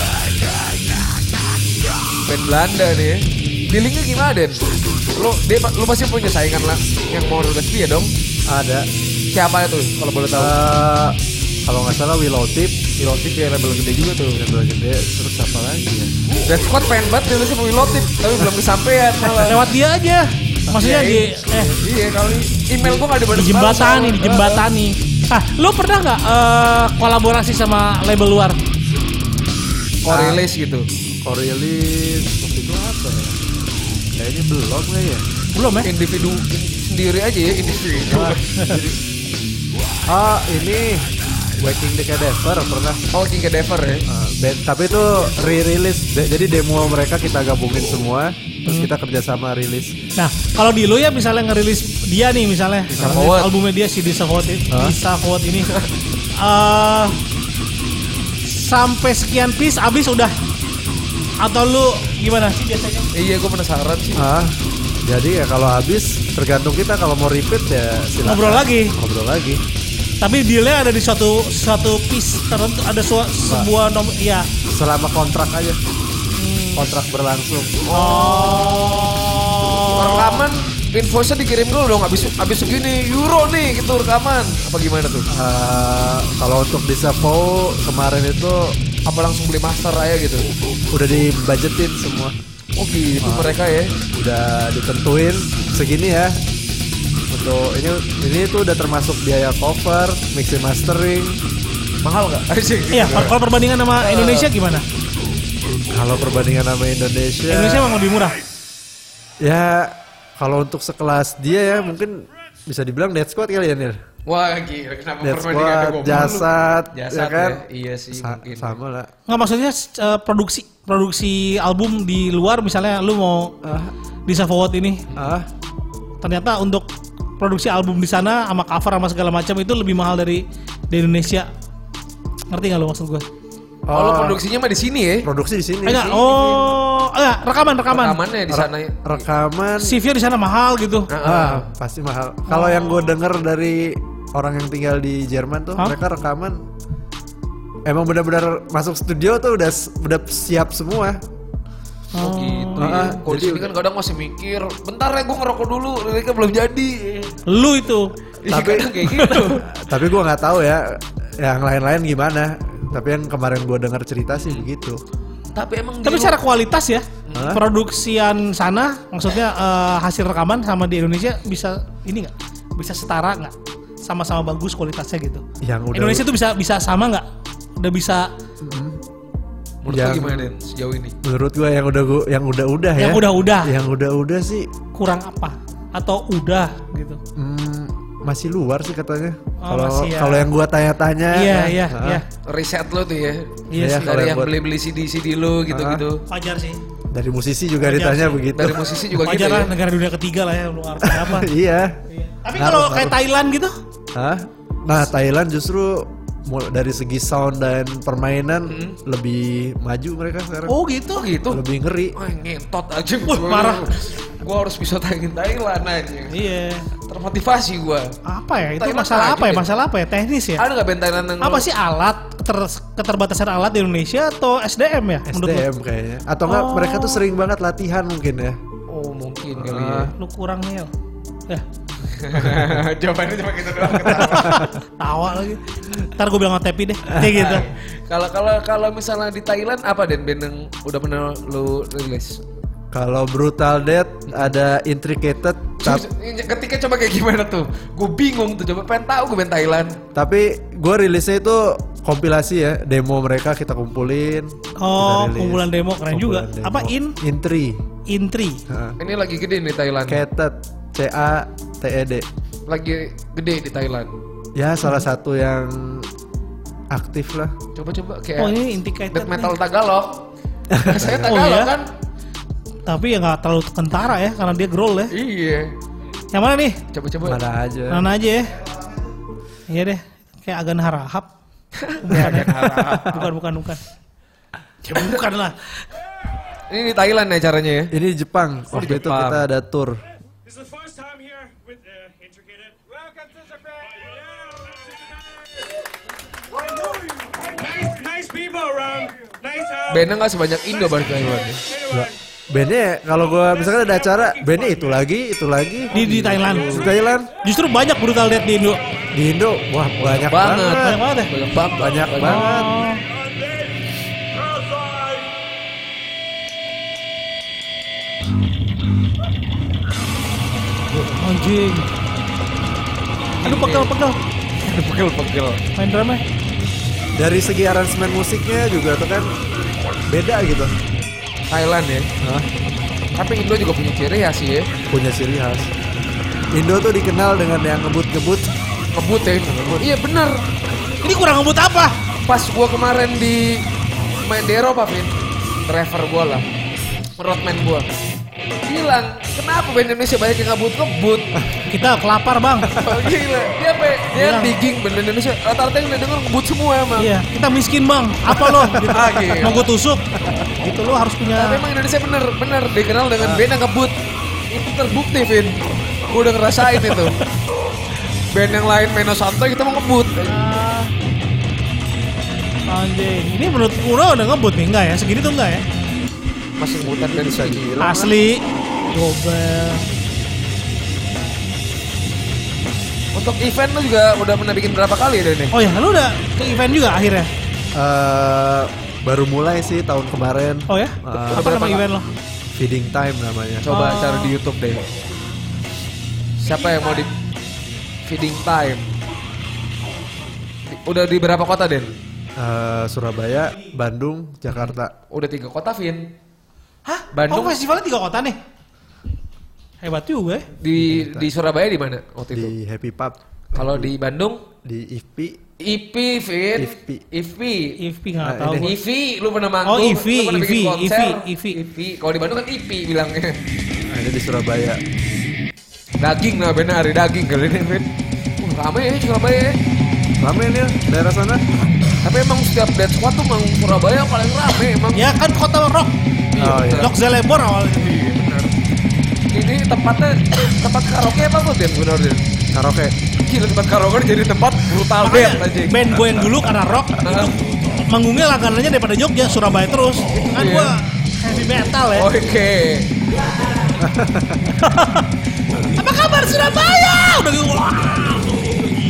S2: Band Belanda nih. Dealingnya gimana Den? Lu dia, lu pasti punya saingan lah yang mau lu resmi ya dong.
S3: ada
S2: Siapa itu kalau boleh tahu?
S3: Eh, kalau nggak salah Willow Tip
S2: Pilotip ya label gede juga tuh.
S3: label gede terus apa lagi ya
S2: Dead Squad pengen banget rilisnya Boy Lotip, tapi belum kesampaian malah.
S1: Lewat dia aja. Maksudnya di
S2: Iya,
S1: eh
S2: Iya kali email gua nggak dibalas.
S1: di jembatani, di jembatani. Ah, lo pernah nggak eh, kolaborasi sama label luar?
S2: Kok rilis gitu.
S3: Kalau rilis waktu itu apa ya? Kayaknya belum lah ya.
S1: Belum ya?
S2: Individu sendiri aja ya individu.
S3: Ah ini Waking the Cadaver pernah.
S2: Oh King Cadaver ya.
S3: Ah, band- tapi itu re-release De- jadi demo mereka kita gabungin semua terus kita kerjasama rilis
S1: Nah, kalau di lo ya misalnya ngerilis dia nih misalnya
S2: Forward.
S1: albumnya dia si Disa Forward ini,
S3: Hah?
S1: Disa Forward ini. Eh, sampai sekian piece abis udah atau lu gimana sih biasanya?
S2: Iya gua penasaran sih.
S3: ah jadi ya kalau habis tergantung kita kalau mau repeat ya silakan
S1: Ngobrol lagi.
S3: ngobrol lagi
S1: Tapi dealnya ada di suatu suatu piece tertentu ada sua- sebuah nomor ya.
S3: selama kontrak aja kontrak berlangsung
S1: Oh.
S2: Rekaman invoice dikirim dulu dong habis habis segini euro nih gitu rekaman. Apa gimana tuh?
S3: Ah, kalau untuk di Sapo kemarin itu
S2: Apa langsung beli master aja gitu?
S3: udah dibudgetin semua
S2: Oh gitu
S1: Ah.
S2: mereka ya.
S3: udah ditentuin segini ya untuk ini ini tuh udah termasuk biaya cover mixing mastering
S2: Mahal nggak? Asik.
S1: Iya, kalau perbandingan sama Indonesia gimana?
S3: kalau perbandingan sama Indonesia
S1: Indonesia emang lebih murah.
S3: Ya kalau untuk sekelas dia ya mungkin bisa dibilang dead squad kali ya Nir.
S2: Wah gila kenapa
S3: Dead
S2: perbandingan ada
S3: squad,
S2: gua
S3: jasad,
S2: mulu?
S3: ya
S2: Jasad
S3: kan?
S2: ya? Iya sih
S3: Sa-
S2: mungkin.
S3: sama lah.
S1: Nggak maksudnya eh, produksi produksi album di luar misalnya lu mau
S3: Ah,
S1: Disa Forward ini
S3: ah,
S1: ternyata untuk produksi album di sana sama cover sama segala macam itu lebih mahal dari di Indonesia. Ngerti nggak lo maksud gue?
S2: Oh, lo
S3: Oh,
S2: produksinya mah di sini ya?
S3: produksi di sini.
S1: Eh, nggak, oh, eh, nggak, rekaman, rekaman.
S2: Rekamannya di sana. ya.
S3: Rekaman.
S1: CV-nya di sana mahal gitu.
S2: Nah,
S3: Ah, pasti mahal. Kalau yang gue denger dari orang yang tinggal di Jerman tuh,
S1: Hah?
S3: mereka rekaman emang benar-benar masuk studio tuh udah s- udah siap semua.
S2: Oh gitu
S3: Ah,
S2: ya. Kalau di
S3: jadi
S2: sini kan kadang masih mikir, bentar ya gue ngerokok dulu, liriknya belum jadi.
S1: Lu itu.
S2: Iya,
S3: Tapi-
S2: kadang kayak gitu.
S3: Tapi gue nggak tahu ya yang lain-lain gimana. Tapi yang kemarin gue denger cerita sih begitu.
S2: Tapi emang
S1: Tapi
S2: di-
S1: secara kualitas ya,
S3: Hah?
S1: produksian sana, maksudnya eh, hasil rekaman sama di Indonesia bisa ini nggak? Bisa setara nggak? Sama-sama bagus kualitasnya gitu.
S3: Yang udah
S1: Indonesia tuh bisa bisa sama nggak? Udah bisa
S2: menurut lo
S3: yang-
S2: gimana Den sejauh ini?
S3: menurut gue yang udah gua, yang udah udah ya
S1: Yang udah-udah.
S3: yang udah udah sih
S1: kurang apa? Atau udah gitu?
S3: mm, masih luar sih katanya
S1: Oh,
S3: kalau
S1: masih ya.
S3: kalau yang gue tanya-tanya
S1: Iya
S3: nah,
S1: iya
S3: ah,
S1: iya.
S2: Riset lo tuh ya.
S1: Iya
S3: saya
S1: sih.
S3: kalau
S2: Dari yang
S3: buat-
S2: beli-beli CD-CD lo gitu-gitu.
S1: Wajar sih.
S3: dari musisi juga
S1: Wajar
S3: ditanya
S1: sih.
S3: begitu
S2: Dari musisi juga gitu
S1: Wajar lah
S2: ya.
S1: negara dunia ketiga lah ya luar apa.
S3: iya
S1: Iya. Tapi
S3: Harus,
S1: kalau kayak
S3: harus.
S1: Thailand gitu,
S3: Hah? nah Thailand justru mul- dari segi sound dan permainan lebih maju mereka sekarang
S1: Hmm. oh gitu.
S2: Oh gitu.
S3: lebih ngeri
S2: Wah ngentot aja.
S1: Wah,
S2: gua.
S1: parah.
S2: Gua harus bisa tayangin Thailand aja.
S1: Iya.
S2: Termotivasi gua.
S1: Apa ya? Itu
S2: Thailand
S1: masalah
S2: maju
S1: apa ya?
S2: deh.
S1: Masalah apa ya? Teknis ya?
S2: Ada nggak band Thailand yang
S1: apa
S2: lo-
S1: sih alat Keter- keterbatasan alat di Indonesia atau SDM ya
S3: SDM kayaknya atau enggak
S1: Oh.
S3: mereka tuh sering banget latihan mungkin ya
S2: Oh mungkin kali ya.
S3: Ah.
S1: lu kurang nih ya
S2: Jawabannya cuma gitu doang ketawa.
S1: tawa lagi ntar gue bilang sama Tepi deh kayak gitu
S2: Kalau kalau kalau misalnya di Thailand apa dan band yang udah pernah lu rilis?
S3: kalau brutal death ada intricated tapi
S2: Ketika coba kayak gimana tuh? Gue bingung tuh coba pengen tahu gue band Thailand.
S3: Tapi gue rilisnya itu kompilasi ya, demo mereka kita kumpulin.
S1: Oh,
S3: kita rilis.
S1: kumpulan demo, keren juga. Apa, in?
S3: Intri.
S1: intri
S3: Heeh.
S2: Ini lagi gede nih Thailand.
S3: Cated, C A T E D.
S2: Lagi gede di Thailand.
S1: Hmm.
S3: Ya salah satu yang aktif lah.
S2: Coba-coba
S1: oh
S2: kayak
S1: ini indicated
S2: Iya. death
S1: nih.
S2: metal Tagalog. Saya
S1: Oh,
S2: Tagalog
S1: iya?
S2: kan?
S1: tapi ya nggak terlalu kentara ya karena dia growl ya
S2: Iya.
S1: yang mana nih
S2: Coba-coba.
S3: Mana aja.
S1: mana aja ya iya deh kayak agan harahap bukan ya? bukan bukan bukan ya bukan lah
S2: Ini di Thailand ya caranya ya.
S3: Ini Jepang.
S2: Oh,
S3: Waktu itu
S2: Jepang.
S3: kita ada tour.
S4: This is the first time here with uh, Intricated. Welcome to Japan! Nice, nice people around. Nice house.
S2: Bandnya nggak sebanyak Indo baru Thailand. ya.
S4: Anyway,
S3: Bandnya ya, kalau gue misalkan ada acara, bandnya itu lagi, itu lagi.
S1: di di Thailand
S3: Di Thailand,
S1: justru banyak brutal death di Indo
S3: di Indo, wah banyak
S2: Banget.
S3: banget.
S1: banyak banget ya
S2: Banyak banget.
S3: Banyak banget.
S4: outside.
S1: anjing. Aduh pegel-pegel
S2: Pegel-pegel.
S1: main drumnya.
S3: Dari segi aransemen musiknya juga tuh kan beda gitu.
S2: Thailand ya.
S3: Hah?
S2: Tapi Indo juga punya ciri ya sih ya.
S3: Punya ciri khas. Indo tuh dikenal dengan yang ngebut-ngebut.
S2: Ngebut ya. Iya bener.
S1: Ini kurang ngebut apa?
S2: Pas gua kemarin di main di Eropa, Vin. Driver gua lah. Roadman gua. Bilang, kenapa band Indonesia banyak yang ngebut-ngebut?
S1: Kita kelapar bang.
S2: Oh, Gila, dia apa? ya? Dia
S1: Bilang.
S2: digging band Indonesia. Rata-rata yang udah denger ngebut semua emang.
S1: Iya, kita miskin bang. Apa lo? Gitu.
S2: Ah, gila.
S1: Mau gue tusuk? Gitu lo harus
S2: Tapi
S1: punya.
S2: emang Indonesia bener, bener dikenal dengan band yang ngebut. Itu terbukti, Vin. Gue udah ngerasain itu. Band yang lain main santai kita mau ngebut.
S1: Ah. Anjing, ini menurut Uno udah ngebut nih enggak ya? Segini tuh enggak ya?
S2: Masih gitu. ngebutan band
S3: Bisa
S2: sini.
S3: dibilang.
S1: Asli. Gobel.
S2: Untuk event lu juga udah pernah bikin berapa kali ya, Dani?
S1: Oh ya, lu udah ke event juga akhirnya?
S3: Eh, baru mulai sih tahun kemarin.
S1: Oh ya?
S3: Ah.
S1: apa nama
S2: Berapa
S1: event lo?
S3: Feeding time namanya.
S2: Coba
S1: Oh.
S2: cari di Youtube deh. Siapa yang mau di... Feeding Time. Di- Udah di berapa kota, Den?
S3: Eh, Surabaya, Bandung, Jakarta.
S2: Udah tiga kota, Vin.
S1: Hah?
S2: Bandung.
S1: Oh, festivalnya tiga kota nih. Hebat juga ya.
S2: Di di Surabaya di mana waktu itu?
S3: Di Happy Pub,
S2: Kalau di Bandung,
S3: di IFP,
S2: IP, Vin.
S3: IFP.
S2: IP.
S1: IFP nggak
S3: Nah,
S1: tahu.
S3: ini-
S1: gua.
S2: IV, lu pernah manggung,
S1: Oh, IV,
S2: lu pernah bikin
S1: IV,
S2: konser,
S1: IV.
S2: IV. Kalau di Bandung kan IP bilangnya.
S3: Nah, ini di Surabaya.
S2: Daging lah benar, hari daging kali ini, Vin. Wah, rame ya Surabaya ya.
S3: Ramai nih ya, daerah sana.
S2: Tapi emang setiap dead squad tuh emang Surabaya paling rame emang.
S1: Ya kan kota rock.
S3: Oh, iya.
S1: Rock Zelebor awalnya.
S2: Iya, benar. Ini tempatnya tempat karaoke apa tuh Din? Benar Din.
S3: Karaoke.
S2: Gila tempat karaoke jadi tempat brutal band
S1: Makanya
S2: aja.
S1: band gue yang dulu karena rock itu manggungnya langganannya daripada Jogja Surabaya terus kan
S2: Iya. Oh.
S1: gue heavy metal ya
S2: Oke.
S1: apa kabar Surabaya udah gitu wah.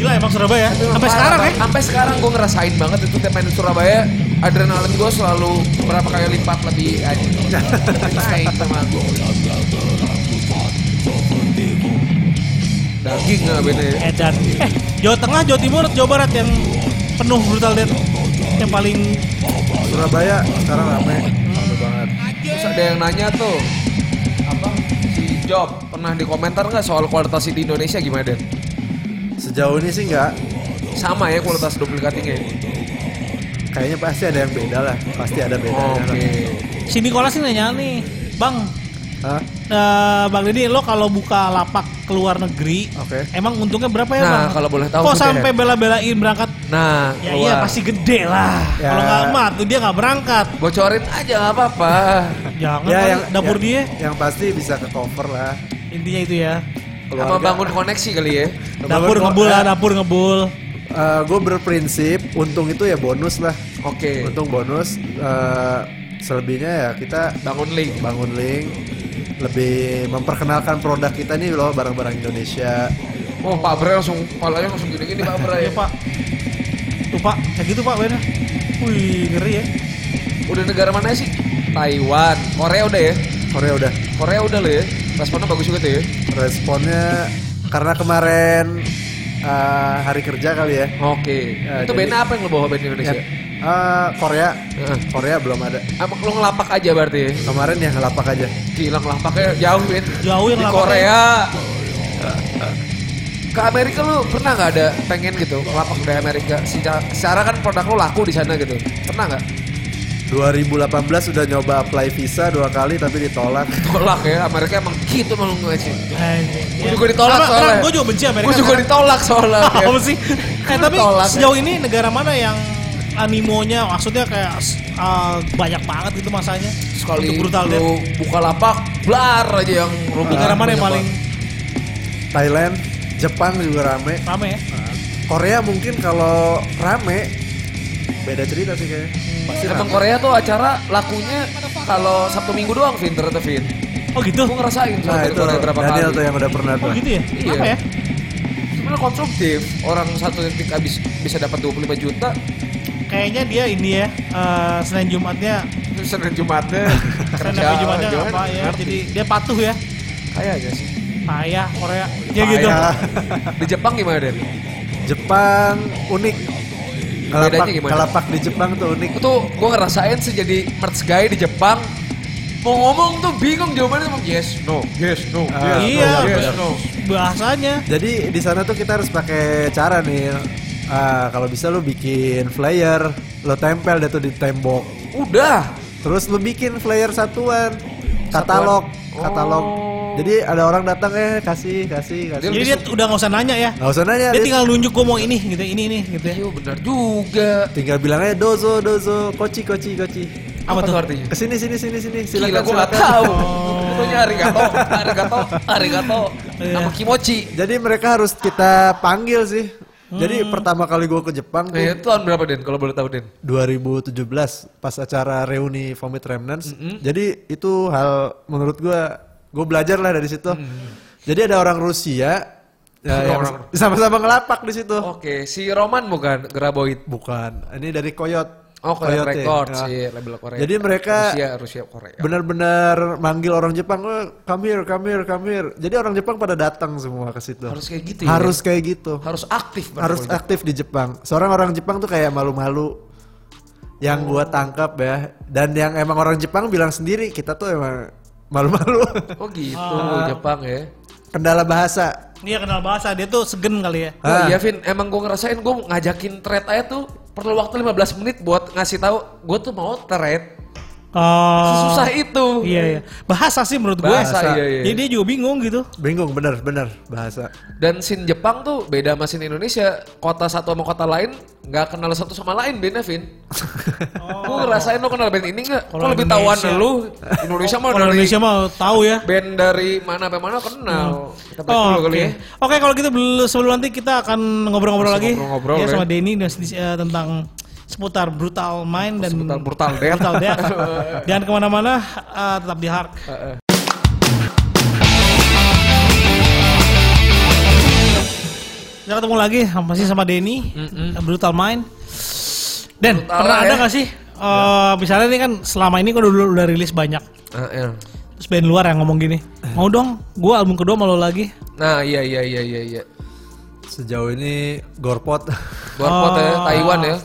S1: gila emang Surabaya sampai sekarang ya
S2: Sampai sekarang gue ngerasain banget itu tiap main di Surabaya adrenalin gue selalu berapa kali lipat lebih aja. Naik sama gue. Daging ah, ya. lah bener.
S1: Edan eh Jawa Tengah Jawa Timur Jawa Barat yang penuh brutal death yang paling
S3: Surabaya sekarang ramai. Ramai banget.
S2: Terus ada yang nanya tuh apa si Job pernah di komentar nggak soal kualitas di Indonesia gimana Den?
S3: Sejauh ini sih nggak.
S2: Sama ya kualitas duplikatnya.
S3: Kayaknya pasti ada yang beda lah. Pasti ada bedanya.
S2: Oh, Oke.
S3: lah.
S1: si Nicholas ini nanya nih Bang
S3: Hah?
S1: eh, Bang Deddy lo kalau buka lapak ke luar negeri
S3: Oke.
S1: emang untungnya berapa ya
S2: Nah,
S1: Bang?
S2: kalau boleh tahu
S1: kok
S2: tuh,
S1: sampai bela-belain berangkat
S2: Nah,
S1: Ya iya
S2: keluar.
S1: pasti gede lah.
S3: Ya.
S1: Kalau nggak mah tuh dia nggak berangkat.
S2: bocorin aja nggak apa-apa.
S1: Jangan kali dapur
S3: ya-
S1: dia
S3: Yang pasti bisa ke cover lah.
S1: intinya itu ya.
S2: Sama bangun koneksi kali ya.
S1: Dapur ngebul
S3: ya.
S1: lah, dapur ngebul.
S3: gue Eh, berprinsip untung itu ya bonus lah.
S2: Oke.
S3: Untung bonus. eh, selebihnya ya kita
S2: Bangun link.
S3: bangun link lebih memperkenalkan produk kita nih loh barang-barang Indonesia
S2: Oh, Pak Bre langsung palanya langsung gini-gini Pak Bre.
S1: Iya
S2: ya.
S1: pak. Tuh pak, kayak gitu pak bener. Wih ngeri ya.
S2: Udah negara mana sih? Taiwan, Korea udah ya.
S3: Korea udah
S2: Korea udah loh ya. Responnya bagus juga tuh ya.
S3: responnya karena kemarin eh, hari kerja kali ya
S2: Oke.
S3: Ya,
S2: Itu band
S3: jadi-
S2: apa yang lo bawa band Indonesia?
S3: Ya, eh, Korea
S2: Heeh.
S3: Korea belum ada
S2: Apa lo ngelapak aja berarti ya?
S3: kemarin ya ngelapak aja
S2: Gila ngelapaknya jauh ya.
S1: Jauh yang
S2: Di
S1: ngelapaknya.
S2: Korea. Ke Amerika lu pernah nggak ada pengen gitu ngelapak dari Amerika? Secara, secara kan produk lu laku di sana gitu. Pernah nggak?
S3: 2018 udah nyoba apply visa dua kali tapi ditolak
S2: Tolak ya. Amerika emang gitu malu gue sih.
S1: Iya. Anjing.
S2: Gua juga ditolak
S1: Sama,
S2: soalnya.
S1: Gue juga benci Amerika.
S2: Gue juga
S1: karena-
S2: ditolak soalnya. Fir.
S1: Apa sih? Eh tapi
S2: Ditolak. ya.
S1: sejauh ini negara mana yang animonya maksudnya kayak uh, banyak banget gitu masanya
S2: Sekali
S1: untuk brutal death.
S2: lu buka lapak, blar aja yang rubuh.
S1: Negara mana yang paling
S3: Thailand Jepang juga rame
S1: rame ya?
S3: Korea mungkin kalau rame beda cerita sih kayaknya pasti
S2: Emang
S3: rame.
S2: Korea tuh acara lakunya kalau Sabtu Minggu doang, Vin, ternyata Vin.
S1: Oh gitu.
S2: Gue ngerasain soalnya
S3: nah
S2: dari
S3: itu
S2: Korea berapa
S3: Daniel
S2: kali.
S3: tuh yang udah pernah
S1: Oh
S3: tuh
S1: gitu ya?
S2: Iya.
S1: Apa ya?
S2: sebenarnya konstruktif orang satu detik habis bisa dapat 25 juta
S1: Kayaknya dia ini ya, eh, Senin Jumatnya
S2: terus Senin Jumatnya kerja
S1: Senin sampai Jumatnya
S2: gimana?
S1: apa ya?
S2: Ngerti.
S1: Jadi dia patuh ya.
S2: kayaknya sih
S1: payah Korea ya gitu
S3: Payah.
S2: Di Jepang gimana Den?
S3: Iya. Jepang unik. Kalapak,
S2: Bedanya gimana?
S3: kalapak di Jepang tuh unik.
S2: Itu gue ngerasain sih jadi merch guy di Jepang Mau ngomong tuh bingung jawabannya mau yes, no, yes, no,
S3: Ah,
S2: yes,
S1: iya
S2: no, yes,
S1: bah-
S2: no.
S1: bahasanya
S2: Iya,
S3: Jadi di sana tuh kita harus pakai cara nih. Ah, kalau bisa lu bikin flyer, lo tempel deh tuh di tembok.
S2: Udah,
S3: Terus lu bikin flyer satuan, katalog, katalog. Jadi ada orang datang eh kasih, kasih, kasih.
S2: Dia
S1: jadi dia udah nggak usah nanya ya
S3: Gak usah nanya,
S1: dia
S3: dia
S1: tinggal nunjuk gue mau ini gitu ini ini gitu ya
S2: iya benar juga.
S3: tinggal bilang aja dozo, dozo, koci, koci, koci.
S1: apa tuh
S2: artinya?
S3: Kesini, sini, sini, sini.
S2: Gila,
S3: Silakan,
S2: gue gak
S3: silakan.
S2: tau. Pokoknya arigato, arigato, arigato.
S1: Iya.
S2: Sama kimochi.
S3: Jadi mereka harus kita panggil sih. Jadi pertama kali gue ke Jepang tuh
S2: Eh, itu tahun berapa Den? Kalau boleh tahu Den?
S3: 2017 pas acara reuni Vomit Remnants. Jadi itu hal menurut gua gue belajar lah dari situ. Jadi ada orang Rusia ya, yang
S2: Orang- Oh.
S3: sama-sama ngelapak di situ.
S2: Oke, si Roman bukan Graboid.
S3: Bukan, ini dari Koyot.
S2: Oh,
S1: ya?
S2: Korea
S3: Coyote.
S2: Records,
S1: Ah.
S3: Nah,
S2: iya, label Korea.
S3: Jadi mereka-
S2: Rusia, Rusia, Korea.
S3: Benar-benar manggil orang Jepang, "Oh, come here, come here, come here." Jadi orang Jepang pada datang semua ke situ.
S2: Harus kayak gitu ya?
S3: Harus kayak gitu.
S2: Harus aktif. berarti
S3: harus
S2: kalau gitu.
S3: aktif di Jepang. Seorang orang Jepang tuh kayak malu-malu yang gua tangkap ya. Dan yang emang orang Jepang bilang sendiri kita tuh emang malu-malu.
S2: Oh gitu,
S1: Ah.
S2: Jepang ya.
S3: Kendala bahasa.
S1: dia Iya, kenal bahasa dia tuh segen kali ya
S2: Nah,
S3: Ah.
S2: iya Vin, emang gue ngerasain gue ngajakin thread aja tuh perlu waktu 15 menit buat ngasih tahu gue tuh mau thread.
S1: oh
S2: Susah itu.
S1: iya iya bahasa sih menurut gue
S2: Bahasa, iya, iya.
S1: jadi dia juga bingung gitu
S3: Bingung bener bener bahasa.
S2: Dan scene Jepang tuh beda sama scene Indonesia. Kota satu sama kota lain nggak kenal satu sama lain bandnya, Vin. Lu ngerasain lu kenal band ini nggak? Lu
S1: Kalau
S2: lebih tahuan
S1: Indonesia-
S2: lu. Indonesia mah
S1: orang
S2: Oh, dari
S1: Indonesia mah tahu ya
S2: band dari mana sampai mana kenal.
S3: Hmm.
S2: Kita break
S1: Oh,
S2: dulu kali
S1: Oke,
S2: ya.
S1: Oke, kalau gitu bel- sebelum nanti kita akan ngobrol-ngobrol
S2: Masih
S1: lagi
S2: ngobrol-ngobrol
S1: ya
S2: ya.
S1: sama Denny dan sedis- eh, tentang seputar brutal mind dan
S2: Seputar brutal death.
S1: brutal death. Jangan kemana-mana, eh, tetap di hard. Kita ketemu lagi sama- masih sama Denny, eh, brutal mind. Dan
S2: Brutal
S1: pernah
S2: lah
S1: ada
S2: ya.
S1: nggak sih? eh, misalnya ini kan selama ini kan udah, udah rilis banyak.
S2: Ah, iya.
S1: Terus band luar yang ngomong gini,
S2: Eh.
S1: mau dong, gue album kedua mau lo lagi.
S2: Nah, iya iya iya iya iya.
S3: Sejauh ini gorpot. Oh.
S2: Gorpot ya, Taiwan ya.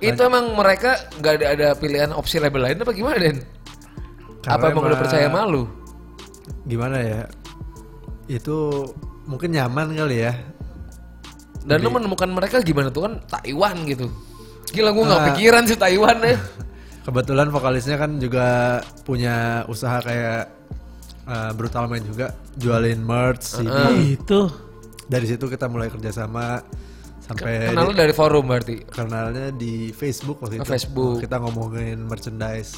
S2: Itu emang mereka nggak ada, ada pilihan opsi label lain apa gimana, Den?
S3: Karena
S2: apa emang udah
S3: emang-
S2: percaya malu?
S3: Gimana ya? Itu mungkin nyaman kali ya.
S2: Dan lu menemukan mereka gimana tuh kan Taiwan gitu. Gila gua
S3: Ah.
S2: nggak pikiran sih Taiwan ya.
S3: Kebetulan vokalisnya kan juga punya usaha kayak eh, brutal main juga jualin merch CD.
S1: Oh
S2: Hmm.
S1: gitu.
S3: Dari situ kita mulai kerjasama sampai
S2: Kenal lu dari forum berarti.
S3: kanalnya di Facebook waktu
S2: Oh,
S3: itu.
S2: Facebook.
S3: Kita ngomongin merchandise.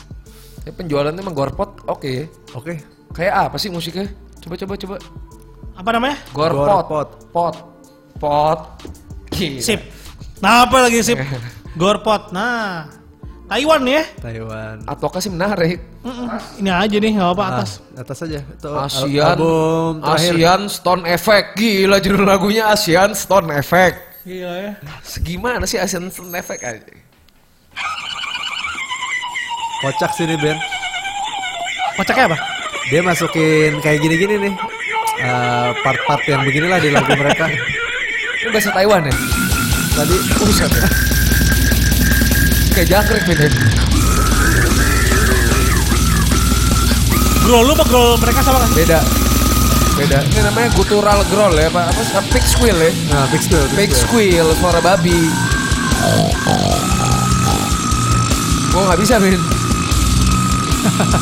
S2: Ya, penjualannya emang Gorpot oke ya.
S3: Oke.
S2: Kayak apa sih musiknya? Coba coba coba.
S1: Apa namanya?
S2: Gorpot.
S3: Gorpot.
S2: Pot. Pot. Gila.
S1: Sip. Nah, apa lagi sip? Gorpot. Nah, Taiwan ya.
S3: Taiwan.
S2: Advokasi menarik.
S1: Mm-mm. Ini aja nih, nggak apa-apa atas.
S3: Ah, atas aja. Itu al-
S2: Asian
S3: album terakhir.
S2: Asian Stone Effect. Gila judul lagunya Asian Stone Effect.
S1: Gila ya.
S2: Segimana sih Asian Stone Effect aja?
S3: Kocak sini Ben.
S1: Kocaknya apa?
S3: Dia masukin kayak gini-gini nih. Eh, part-part yang beginilah di lagu mereka.
S2: Ini bahasa Taiwan ya?
S3: Tadi
S2: Buset ya. Kayak jangkrik Vin.
S1: Growl lu apa growl mereka sama kan?
S2: Beda. Beda. Ini namanya gutural growl ya, Pak. Apa sih? Pig squeal ya?
S3: nah, Big Squill,
S2: Pig
S3: Big Squill.
S2: squeal, suara babi. Gua nggak bisa, Vin.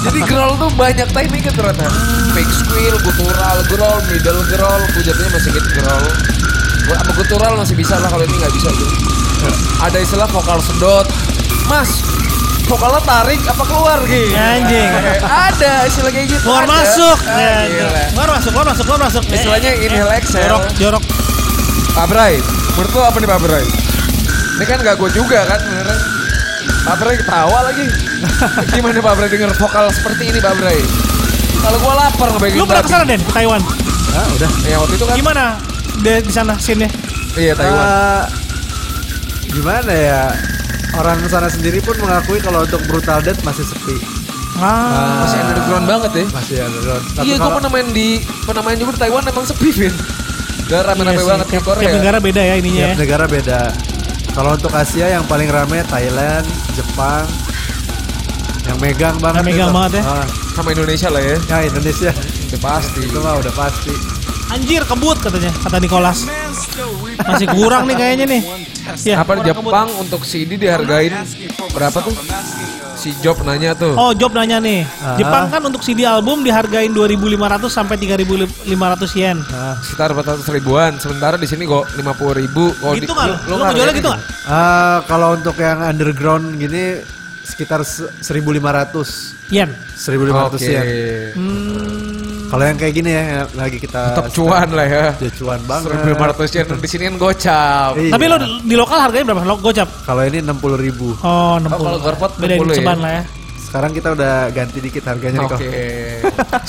S2: Jadi growl tuh banyak tekniknya ternyata. Pig squeal, gutural growl, middle growl, pujatnya masih gitu growl. Gua sama gutural masih bisa lah kalau ini nggak bisa gitu. Ada istilah vokal sedot. Mas, vokalnya tarik apa keluar gitu.
S1: Anjing.
S2: Ada istilah kayak gitu.
S1: Keluar
S2: ada.
S1: masuk.
S2: Ah,
S1: Ya,
S2: gila.
S1: Keluar masuk, keluar masuk, keluar masuk. Ya.
S2: Istilahnya inhale exhale.
S1: Jorok, jorok.
S2: Pak Bray, menurut lo apa nih Pak Bray? Ini kan gak gue juga kan beneran. Pak Bray ketawa lagi. Gimana Pak Bray denger vokal seperti ini Pak Bray? Kalau gue lapar ngebayangin
S1: Lu pernah
S2: babi.
S1: kesana Den, ke Taiwan?
S3: Ah, udah.
S2: Ya waktu itu kan.
S1: Gimana? De, di sana scene-nya?
S2: Iya Taiwan.
S1: Ah.
S3: Eh, gimana ya? Orang sana sendiri pun mengakui kalau untuk Brutal Death masih sepi.
S1: Ah,
S2: Masih underground banget ya.
S3: Masih underground. Tapi
S2: iya, gue
S3: kalau-
S2: pernah main di pernah main juga di Taiwan emang sepi, Vin. Gak
S1: iya
S2: rame-rame
S1: sih.
S2: banget di
S1: Tiap-
S2: Korea. Iya,
S1: Tiap negara beda ya ininya
S3: Tiap
S1: ya.
S3: negara beda. Kalau untuk Asia yang paling rame Thailand, Jepang, yang megang banget.
S1: Yang megang
S3: itu.
S1: banget ya.
S3: Ah,
S2: Sama Indonesia lah ya.
S3: ya Indonesia
S2: Udah pasti.
S3: itu
S1: Iya.
S3: mah udah pasti.
S1: Anjir kebut katanya, kata Nicholas. Masih kurang nih kayaknya nih. Ya.
S2: Apa di Jepang untuk CD dihargain berapa tuh? Si Job nanya tuh.
S1: Oh, Job nanya nih.
S3: Ah.
S1: Jepang kan untuk CD album dihargain 2.500 sampai 3.500 yen.
S3: Nah,
S2: sekitar 400 ribuan sementara di sini kok 50 ribu kok
S1: gitu nggak? Lo ngejualnya gitu nggak?
S3: ah, kalau untuk yang underground gini sekitar se- 1500
S1: Yen.
S2: oke
S3: 1500
S2: Hmm.
S3: ya. Kalau yang kayak gini ya yang lagi kita
S2: tetap cuan lah ya
S3: Ya, cuan banget.
S2: 1500 yen di sini kan gocap
S3: Iya.
S1: Tapi lo di- di lokal harganya berapa? Lo gocap.
S3: Kalau ini 60.000.
S1: Oh, 60.
S2: kalau Gorpot
S1: beda
S2: 60 ya?
S1: ceban lah ya.
S3: Sekarang kita udah ganti dikit harganya
S2: oke
S3: nih kok.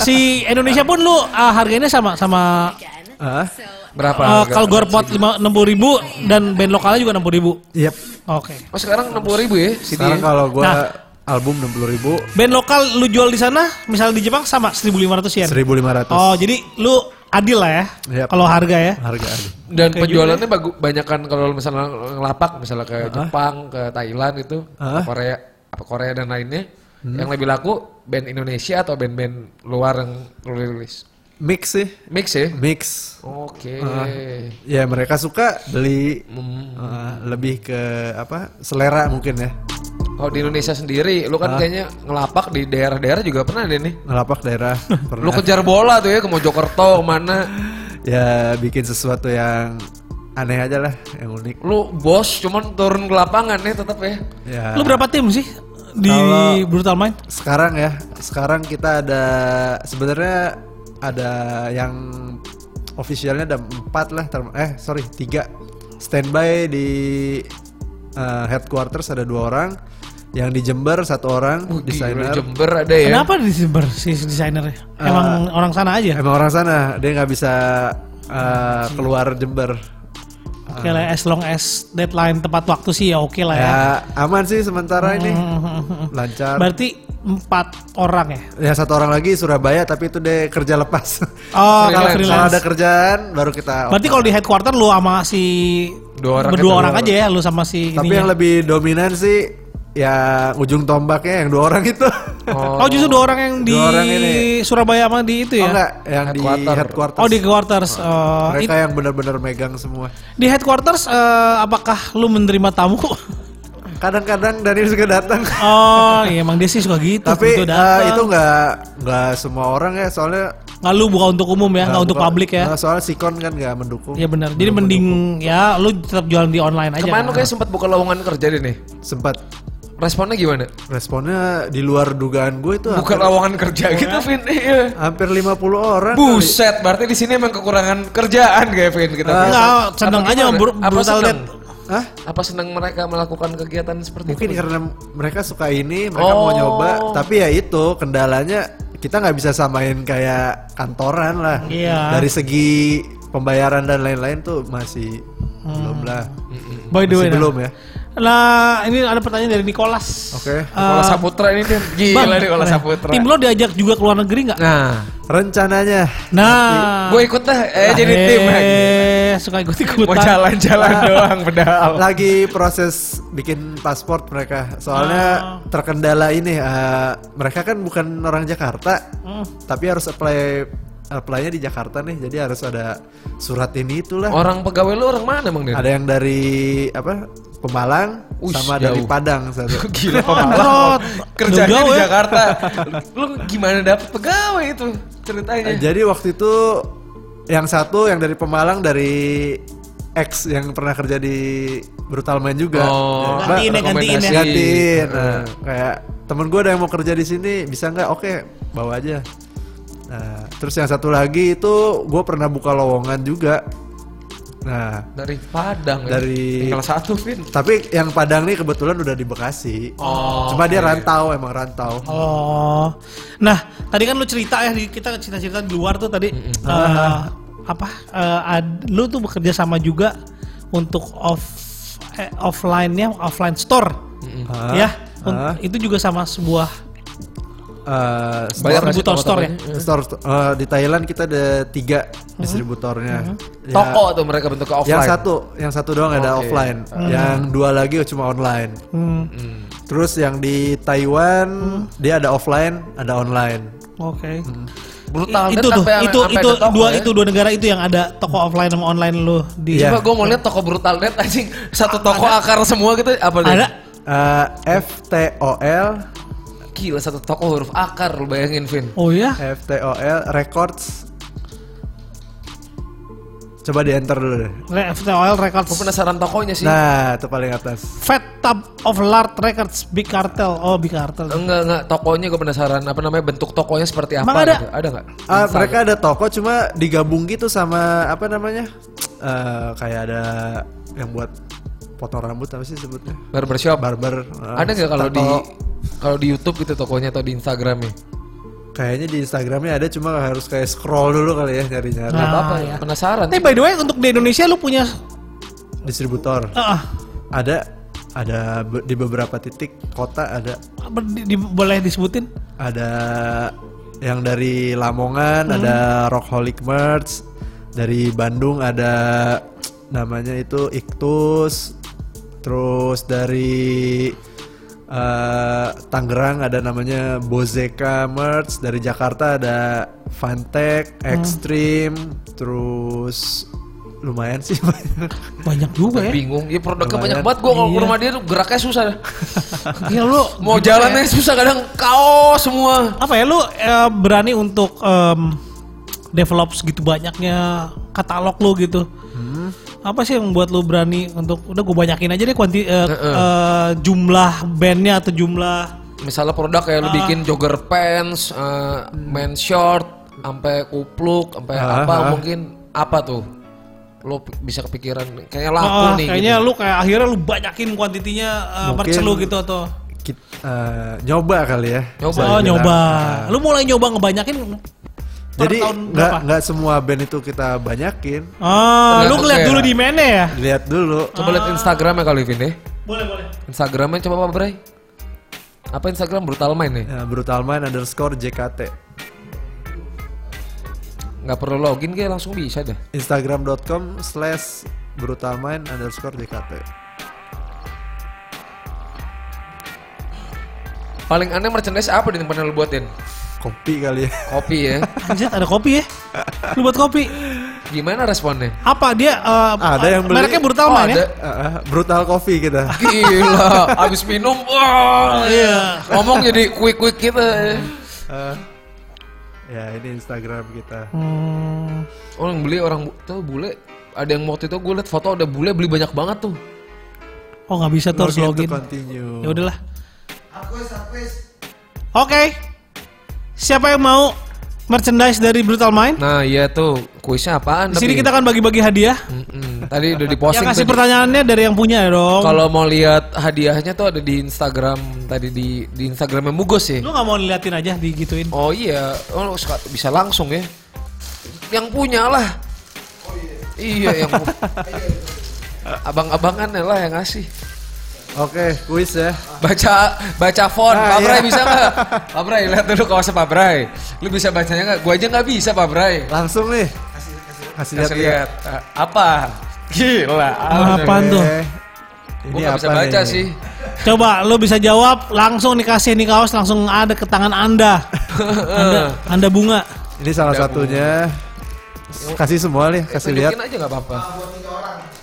S1: Si Indonesia pun lu ah, harganya sama sama
S3: Ah,
S2: berapa
S1: eh, kalau Gorpot lima- 60 ribu dan band lokalnya juga 60 ribu.
S3: Yep.
S1: Oke.
S2: oh sekarang 60 ribu ya CD
S3: Sekarang kalau gua
S1: Nah.
S3: album 60.000,
S1: Band lokal lu jual di sana, misalnya di Jepang sama 1.500 yen.
S3: 1500.
S1: Oh, jadi lu adil lah ya.
S3: Yap. Nah.
S1: Kalau harga ya.
S3: Harga ada.
S2: dan
S1: Oke
S2: penjualannya bagu banyakan kalau misalnya ngelapak misalnya ke Jepang ke Thailand itu
S3: Ah.
S2: ke Korea apa Korea dan lainnya
S1: Hmm.
S2: yang lebih laku band Indonesia atau band-band luar yang lu rilis
S3: Mix sih,
S2: mix ya
S1: Hmm.
S3: mix.
S2: oke
S3: Ya mereka suka beli
S2: Hmm.
S3: eh, lebih ke apa? Selera mungkin ya.
S2: Kalau di Indonesia sendiri, lu kan kayaknya ngelapak di daerah-daerah juga pernah deh nih.
S3: Ngelapak daerah
S2: Lu
S3: pernah.
S2: kejar bola tuh ya ke Mojokerto mana.
S3: ya bikin sesuatu yang aneh aja lah, yang unik.
S2: Lu bos cuman turun ke lapangan ya tetap ya.
S3: Ya.
S1: Lu berapa tim sih di
S3: Kalau-
S1: Brutal Mind?
S3: Sekarang ya, sekarang kita ada sebenarnya ada yang officialnya ada empat lah, term- eh sorry tiga standby di eh, headquarters ada dua orang, yang di Jember satu orang
S2: Wih, Oh, gila,
S3: desainer.
S2: Jember ada
S3: Iya.
S2: ya.
S1: Kenapa di Jember si
S3: Eh,
S1: desainernya? Emang orang sana aja.
S3: Emang orang sana dia nggak bisa eh, keluar Jember.
S1: Oke lah, as long as deadline tepat waktu sih ya oke lah ya.
S3: Ya aman sih sementara ini lancar.
S1: Berarti empat orang ya.
S3: Ya satu orang lagi Surabaya tapi itu deh kerja lepas.
S1: Oh,
S2: Freelance.
S1: kalau
S3: Kalau
S1: freelance.
S3: ada kerjaan baru kita.
S1: Berarti kalau di headquarter lu sama si
S2: Dua orang
S1: berdua
S2: atau
S1: orang
S2: dua
S1: aja ya, lu sama si
S3: Tapi
S1: ininya.
S3: yang lebih dominan sih ya ujung tombaknya yang dua orang itu.
S1: Oh, justru dua orang yang di
S3: Dua orang ini.
S1: Surabaya sama di itu ya.
S3: Oh enggak, yang di
S2: Headquarter.
S3: headquarters.
S1: Oh, di headquarters. Oh,
S3: Mereka
S1: i-
S3: yang benar-benar megang semua.
S1: di headquarters eh, apakah lu menerima tamu?
S3: Kadang-kadang Daniel juga datang.
S1: oh, iya emang dia sih suka gitu.
S3: Tapi
S1: begitu
S3: eh,
S1: datang.
S3: itu enggak enggak semua orang ya soalnya
S1: Nggak lu buka untuk umum ya, nggak untuk
S3: bukan-
S1: publik ya.
S3: nggak, soalnya Sikon kan enggak mendukung.
S1: Iya benar. Jadi mending ya lu tetap jualan di online aja. kan?
S2: Kemarin lu kayak sempat buka lowongan kerja deh nih.
S3: Sempat
S2: Responnya gimana?
S3: responnya di luar dugaan gue itu
S2: Buka lowongan kerja gitu, Vin. Iya.
S3: hampir 50 orang.
S2: Buset, berarti di sini emang kekurangan kerjaan kayak Vin kita. Vin.
S1: Enggak, oh, seneng
S2: Apa
S1: aja
S2: gimana?
S1: bur-
S2: Apa
S1: brutal
S2: seneng?
S1: death.
S3: Hah?
S2: Apa seneng mereka melakukan kegiatan seperti
S3: Mungkin
S2: itu?
S3: karena mereka suka ini, mereka
S2: Oh.
S3: mau nyoba, tapi ya itu kendalanya kita nggak bisa samain kayak kantoran lah.
S1: Iya.
S3: Dari segi pembayaran dan lain-lain tuh masih belum lah.
S1: By the
S3: Masih
S1: way. nah.
S3: belum ya.
S1: Nah, ini ada pertanyaan dari Nicholas.
S3: Oke.
S2: Nikola Saputra ini dia
S1: eh, Bang,
S2: gila Nikola
S1: keren.
S2: Saputra.
S1: Tim lo diajak juga ke luar negeri nggak?
S2: Nah,
S3: Rencananya
S1: Nah,
S2: gue ikut dah eh jadi
S1: eh,
S2: tim lagi.
S1: Suka ikut
S2: Mau
S1: ikutan.
S2: jalan-jalan doang pedal.
S3: lagi proses bikin paspor mereka. Soalnya terkendala ini eh, mereka kan bukan orang Jakarta, tapi harus apply apply-nya di Jakarta nih. Jadi harus ada surat ini itulah.
S2: Orang pegawai lu orang mana emang Den?
S3: Ada yang dari apa? Pemalang
S2: Ush,
S3: sama dari
S2: jauh.
S3: Padang satu.
S2: Gila
S1: Ngerot.
S2: Kerjanya
S1: Jauh-jauh
S2: di
S1: ya.
S2: Jakarta. Lu gimana dapet pegawai itu ceritanya?
S3: Jadi waktu itu yang satu yang dari Pemalang dari ex yang pernah kerja di Brutal Man juga. Nah,
S2: Oh,
S1: Gantiin ya,
S3: Mbak,
S1: gantiin ya.
S2: rekomendasi. Hmm.
S3: gantiin. Nah, kayak temen gue ada yang mau kerja di sini, bisa nggak? Oke, bawa aja. Nah, terus yang satu lagi itu gue pernah buka lowongan juga. Nah,
S2: Dari Padang. ya?
S3: Dari-
S2: tinggal satu Vin.
S3: tapi yang Padang nih kebetulan udah di Bekasi.
S2: Oh,
S3: Cuma dia rantau, emang rantau.
S1: Oh. Nah, tadi kan lu cerita ya di- kita cerita-cerita di luar tuh tadi Eh, apa? Eh, ad- lu tuh bekerja sama juga untuk off eh, offline-nya offline store.
S3: Ah,
S1: Ya.
S3: ah.
S1: Itu juga sama sebuah
S3: eh,
S2: Banyak
S3: store,
S1: distributor store ya?
S3: store eh, di Thailand kita ada tiga distributornya. Ya,
S2: Toko tuh mereka bentuknya offline.
S3: yang satu, yang satu doang ada
S2: Oke.
S3: offline. Yang dua lagi cuma online.
S1: Hmm,
S3: Terus yang di Taiwan
S2: Hmm.
S3: dia ada offline, ada online.
S1: Oke.
S2: brutal
S1: itu
S2: Death
S1: tuh,
S2: sampai-
S1: itu
S2: sampai
S1: itu
S2: ada toko
S1: dua
S2: ya.
S1: itu ya. dua negara itu yang ada toko offline sama online lu di
S3: Iya.
S2: Coba gue mau lihat toko brutal death anjing satu toko akar semua gitu apa deh?
S1: ada
S3: Eh, FTOL,
S2: Gila satu toko huruf akar lu bayangin Vin.
S1: oh ya
S3: FTOL Records. Coba di enter dulu deh.
S1: FTOL Records
S2: Gue penasaran tokonya sih.
S3: Nah, itu paling atas.
S1: Fat Tub of Lard Records Big Cartel oh Big Cartel
S2: Enggak enggak tokonya gue penasaran apa namanya bentuk tokonya seperti apa
S1: Emang ada?
S2: gitu. Ada enggak?
S3: Ah, mereka ada toko cuma digabung gitu sama apa namanya? Eh, kayak ada yang buat potong rambut apa sih sebutnya?
S2: Barbershop.
S3: Barber. eh,
S2: ada nggak kalau di
S3: tato.
S2: kalau di YouTube gitu tokonya atau di ya? Instagramnya?
S3: Kayaknya di Instagramnya ada cuma harus kayak scroll dulu kali ya
S2: Gak
S3: nyari-nyari
S1: Nah.
S2: apa-apa
S1: ya.
S2: penasaran.
S1: tapi by the way untuk di Indonesia lu punya
S3: distributor.
S1: ah,
S3: Ada ada be- di beberapa titik kota ada
S1: apa di- di- boleh disebutin
S3: ada yang dari Lamongan
S1: Hmm.
S3: ada Rockholic Merch dari Bandung ada namanya itu Ictus terus dari eh, Tangerang ada namanya Bozeka Merch dari Jakarta ada Fantech
S1: Hmm.
S3: Extreme terus lumayan sih
S1: banyak juga ya
S2: Bingung. Ya produknya
S3: Lumayan.
S2: banyak banget gue kalau ke rumah dia tuh geraknya susah.
S1: Gila Iya, lu gitu ya.
S2: mau jalannya susah kadang kaos semua.
S1: apa ya lu eh, berani untuk em, develop segitu banyaknya katalog lu gitu apa sih yang buat lu berani untuk udah gue banyakin aja deh kuanti eh, eh, jumlah bandnya atau jumlah
S2: Misalnya produk kayak
S1: Ah.
S2: lu bikin jogger pants, eh,
S1: Hmm.
S2: men short, sampai kupluk, sampai
S3: Ah,
S2: apa
S3: ah.
S2: mungkin apa tuh? Lu pi- bisa kepikiran kayaknya laku
S1: Ah,
S2: nih.
S1: kayaknya lu kayak akhirnya lu banyakin kuantitinya eh,
S3: Mungkin-
S1: merch lu gitu atau
S3: Kit- eh, nyoba kali ya
S2: Nyoba.
S3: Bisa
S1: oh
S3: dibilang.
S1: nyoba
S3: Ah.
S1: lu mulai nyoba ngebanyakin per
S3: Jadi
S1: tahun
S3: nggak
S1: berapa?
S3: nggak semua band itu kita banyakin.
S1: ah lu
S2: Tergantung
S1: ngeliat
S2: daerah.
S1: dulu di mana ya
S3: Lihat dulu.
S2: Coba
S1: Ah.
S2: lihat Instagramnya kali Vin ya.
S1: boleh boleh
S2: Instagramnya coba apa Bray? Apa Instagram brutal main nih?
S3: Ya, Brutal Mind underscore JKT.
S2: Nggak perlu login kayak langsung bisa deh.
S3: Instagram.com slash Brutal Mind underscore JKT.
S2: Paling aneh merchandise apa di tempat yang lu buatin?
S3: Kopi kali ya.
S2: Kopi ya.
S1: Anjir, ada kopi ya lu buat kopi
S2: Gimana responnya?
S1: apa dia eh,
S3: Ada yang beli.
S1: mereknya brutal
S2: Oh,
S1: man ya
S2: ada.
S3: Ah, ah, brutal Coffee kita.
S2: Gila, abis minum, wah,
S1: Iya.
S2: ngomong jadi quick quick gitu. ya.
S3: Ah, ya ini Instagram kita.
S1: Hmm,
S2: Orang beli orang bu- tuh bule, ada yang waktu itu gue liat foto ada bule beli banyak banget tuh.
S1: oh nggak bisa tuh
S2: gitu
S1: harus
S3: Login to
S1: login
S2: kan.
S3: continue.
S1: ya udahlah oke siapa yang mau merchandise dari brutal mind
S2: Nah iya tuh kuisnya apaan?
S1: di sini kita akan bagi-bagi hadiah
S2: Mm-mm, tadi udah diposting.
S1: yang kasih
S2: tadi.
S1: pertanyaannya dari yang punya ya dong
S2: Kalau mau lihat hadiahnya tuh ada di Instagram tadi di di Instagramnya Mugos ya.
S1: lu nggak mau liatin aja digituin
S2: Oh iya, oh, suka- bisa langsung ya. Yang punya lah. iya. yang pu- abang-abangannya lah yang ngasih.
S3: Oke, kuis ya.
S2: Baca baca font,
S3: Ah,
S2: Pak Bray
S3: iya.
S2: bisa nggak? Pak Bray lihat dulu kaosnya Pak Bray. Lu bisa bacanya nggak? Gua aja nggak bisa Pak Bray.
S3: Langsung nih. Kasih lihat. ya.
S2: Kasih lihat Ah, apa? Gila.
S1: Apaan
S3: Oke.
S1: tuh?
S2: Gue
S3: Ini
S2: nggak
S3: apa
S2: bisa baca
S3: nih?
S2: sih.
S1: Coba lu bisa jawab langsung dikasih nih kaos langsung ada ke tangan Anda. Anda, anda bunga.
S3: Ini salah satunya. Kasih semua nih, kasih lihat.
S2: Tunjukin aja nggak apa-apa.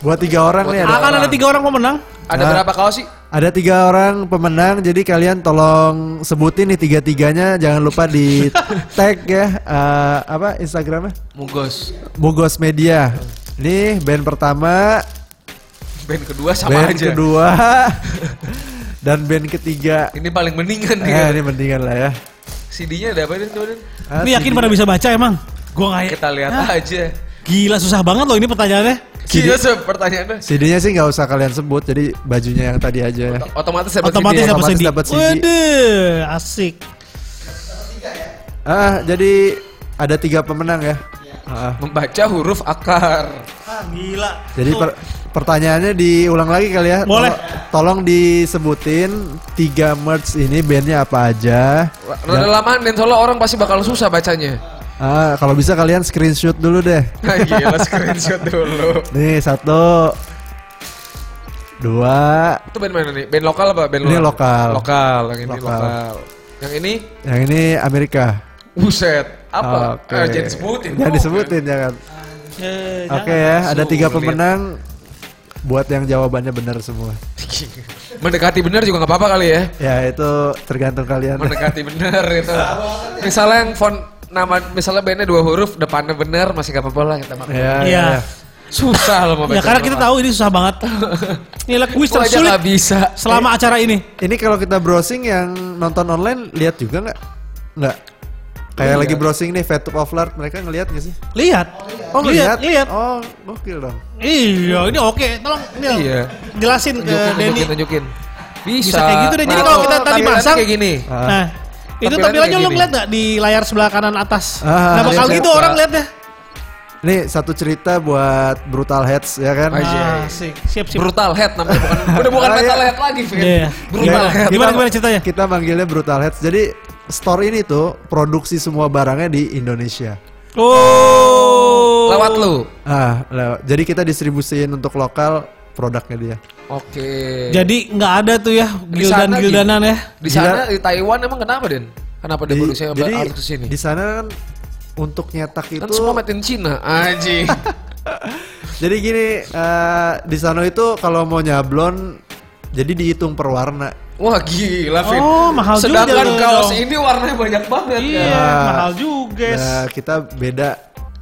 S3: Buat tiga orang nih ada
S1: Akan ada tiga orang pemenang.
S2: Ada
S3: Nah.
S2: berapa kaos sih?
S3: Ada tiga orang pemenang, jadi kalian tolong sebutin nih tiga-tiganya. Jangan lupa di tag ya, eh, apa Instagramnya?
S2: Mugos.
S3: Bogos Media. Ini band pertama,
S2: Band kedua sama
S3: band
S2: aja.
S3: kedua, dan band ketiga.
S2: Ini paling mendingan
S3: Eh,
S2: dia.
S3: ini mendingan lah ya.
S2: CD-nya ada apa Din? Coba, Din?
S3: Ah,
S1: Ini yakin pada bisa baca emang? Gua
S3: Eh.
S1: nggak ya?
S2: Kita lihat aja. Iya,
S1: Gila susah banget loh ini pertanyaannya.
S2: Gila sih pertanyaannya.
S3: CD-nya sih nggak usah kalian sebut, jadi bajunya yang tadi aja ya.
S2: Otomatis dapat ya.
S1: Otomatis
S2: CD.
S1: dapat
S3: Otomatis
S1: CD.
S3: dapat CD.
S1: Waduh, asik.
S3: Ah, jadi ada tiga pemenang ya. Ah,
S2: Membaca huruf akar.
S1: Ah, gila.
S3: jadi
S1: Tuh,
S3: per- Pertanyaannya diulang lagi kali ya.
S1: Boleh.
S3: Tolo- Tolong disebutin tiga merch ini bandnya apa aja. Ya.
S2: Rada lamaan dan soalnya orang pasti bakal susah bacanya.
S3: Ah, kalau bisa kalian screenshot dulu deh.
S2: Nah, Gila screenshot dulu.
S3: Nih satu, dua.
S2: Itu band mana nih? Band lokal apa? Band
S3: Ini
S2: luar?
S3: lokal.
S2: Lokal, yang ini
S3: Lokal.
S2: lokal. Yang ini
S3: Yang ini Amerika.
S2: buset. Apa?
S3: Oke.
S2: Eh, jangan disebutin.
S3: Jangan
S2: Oh,
S3: disebutin jangan.
S1: Eh,
S3: Oke
S1: jangan.
S3: ya, ada tiga
S2: Sulit.
S3: pemenang. Buat yang jawabannya benar semua.
S2: kan. Mendekati benar juga nggak apa-apa kali ya.
S3: Ya itu tergantung kalian.
S2: Mendekati benar itu. Misalnya yang font nama misalnya bandnya dua huruf depannya benar masih nggak apa-apa lah kita makan.
S3: Ya,
S1: Iya.
S3: ya.
S2: Susah loh mau
S1: Ya
S2: baca
S1: karena kita
S2: nama.
S1: tahu ini susah banget. Inilah kuis
S2: Gua aja
S1: tersulit
S2: nggak bisa.
S1: selama acara ini.
S3: Ini kalau kita browsing yang nonton online lihat juga nggak? Nggak. Kayak lagi browsing nih Fate of Love mereka ngelihat nggak sih?
S1: Lihat.
S3: Oh ngelihat.
S1: lihat, lihat.
S3: Oh gokil dong.
S1: Iya, ini oke. Tolong Nil,
S2: Iya.
S1: jelasin ke
S2: Tunjukin,
S1: Denny.
S2: tunjukin, tunjukin. Bisa.
S1: Bisa kayak gitu deh. Jadi
S2: Nah,
S1: kalau kita
S2: oh,
S1: tadi
S2: tampilannya
S1: masang-
S2: kayak gini.
S3: Ah.
S1: Nah, itu
S2: Tampilannya
S1: tampilannya
S2: kayak
S1: lo
S2: gini.
S1: ngeliat gak di layar sebelah kanan atas?
S3: Ah,
S1: nah bakal
S3: iya,
S1: gitu
S3: iya.
S1: orang liatnya.
S3: Ini satu cerita buat Brutal Heads ya kan?
S2: Ayo. Iya, iya.
S1: Ah, Asik, siap siap.
S2: Brutal head namanya bukan. Udah bukan
S3: Ah, iya.
S2: metal head lagi, Vin.
S1: Iya.
S2: Brutal
S3: Iya.
S2: head.
S1: Gimana gimana ceritanya?
S3: Kita manggilnya Brutal Heads. Jadi store ini tuh produksi semua barangnya di Indonesia.
S1: Oh.
S2: Lewat lu.
S3: Ah, lewat. jadi kita distribusiin untuk lokal produknya dia.
S2: Oke.
S1: Jadi nggak ada tuh ya
S2: sana
S1: gildan-gildanan ya.
S2: Di sana di Taiwan emang kenapa, Den? Kenapa dia
S3: Di-
S2: produksi
S3: jadi
S2: harus ke sini?
S3: di sana kan untuk nyetak itu
S2: Kan semua made in Cina. Anjing.
S3: Jadi gini, eh, di sana itu kalau mau nyablon, jadi dihitung per warna.
S2: Wah gila, Vin.
S1: Oh, mahal juga
S2: Sedangkan
S1: dong.
S2: kaos ini warnanya banyak banget.
S1: Iya,
S2: kan?
S3: Nah,
S1: mahal juga.
S3: Nah, kita beda.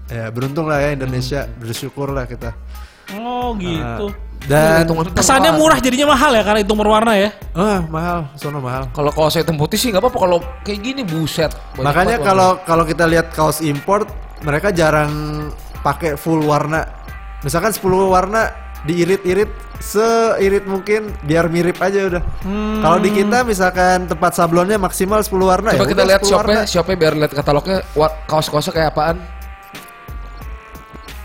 S3: Ya, beruntung lah ya Indonesia, bersyukur lah kita.
S1: Oh, gitu.
S3: Dan
S2: Hitungan per
S1: Kesannya
S2: warna.
S1: murah jadinya mahal ya karena hitung berwarna ya.
S3: ah mahal, sono mahal.
S2: Kalau kaos hitam putih sih nggak apa-apa. Kalau kayak gini buset. Banyak
S3: Makanya
S2: banget
S3: kalau kalau kita lihat kaos import, mereka jarang pakai full warna. Misalkan 10 warna diirit-irit seirit mungkin biar mirip aja udah. Kalau di kita misalkan tempat sablonnya maksimal 10 warna
S2: Coba
S3: ya
S2: kita
S3: udah
S2: lihat
S3: 10 warna.
S2: shopnya, shopnya biar lihat katalognya wa- kaos-kaosnya kayak apaan.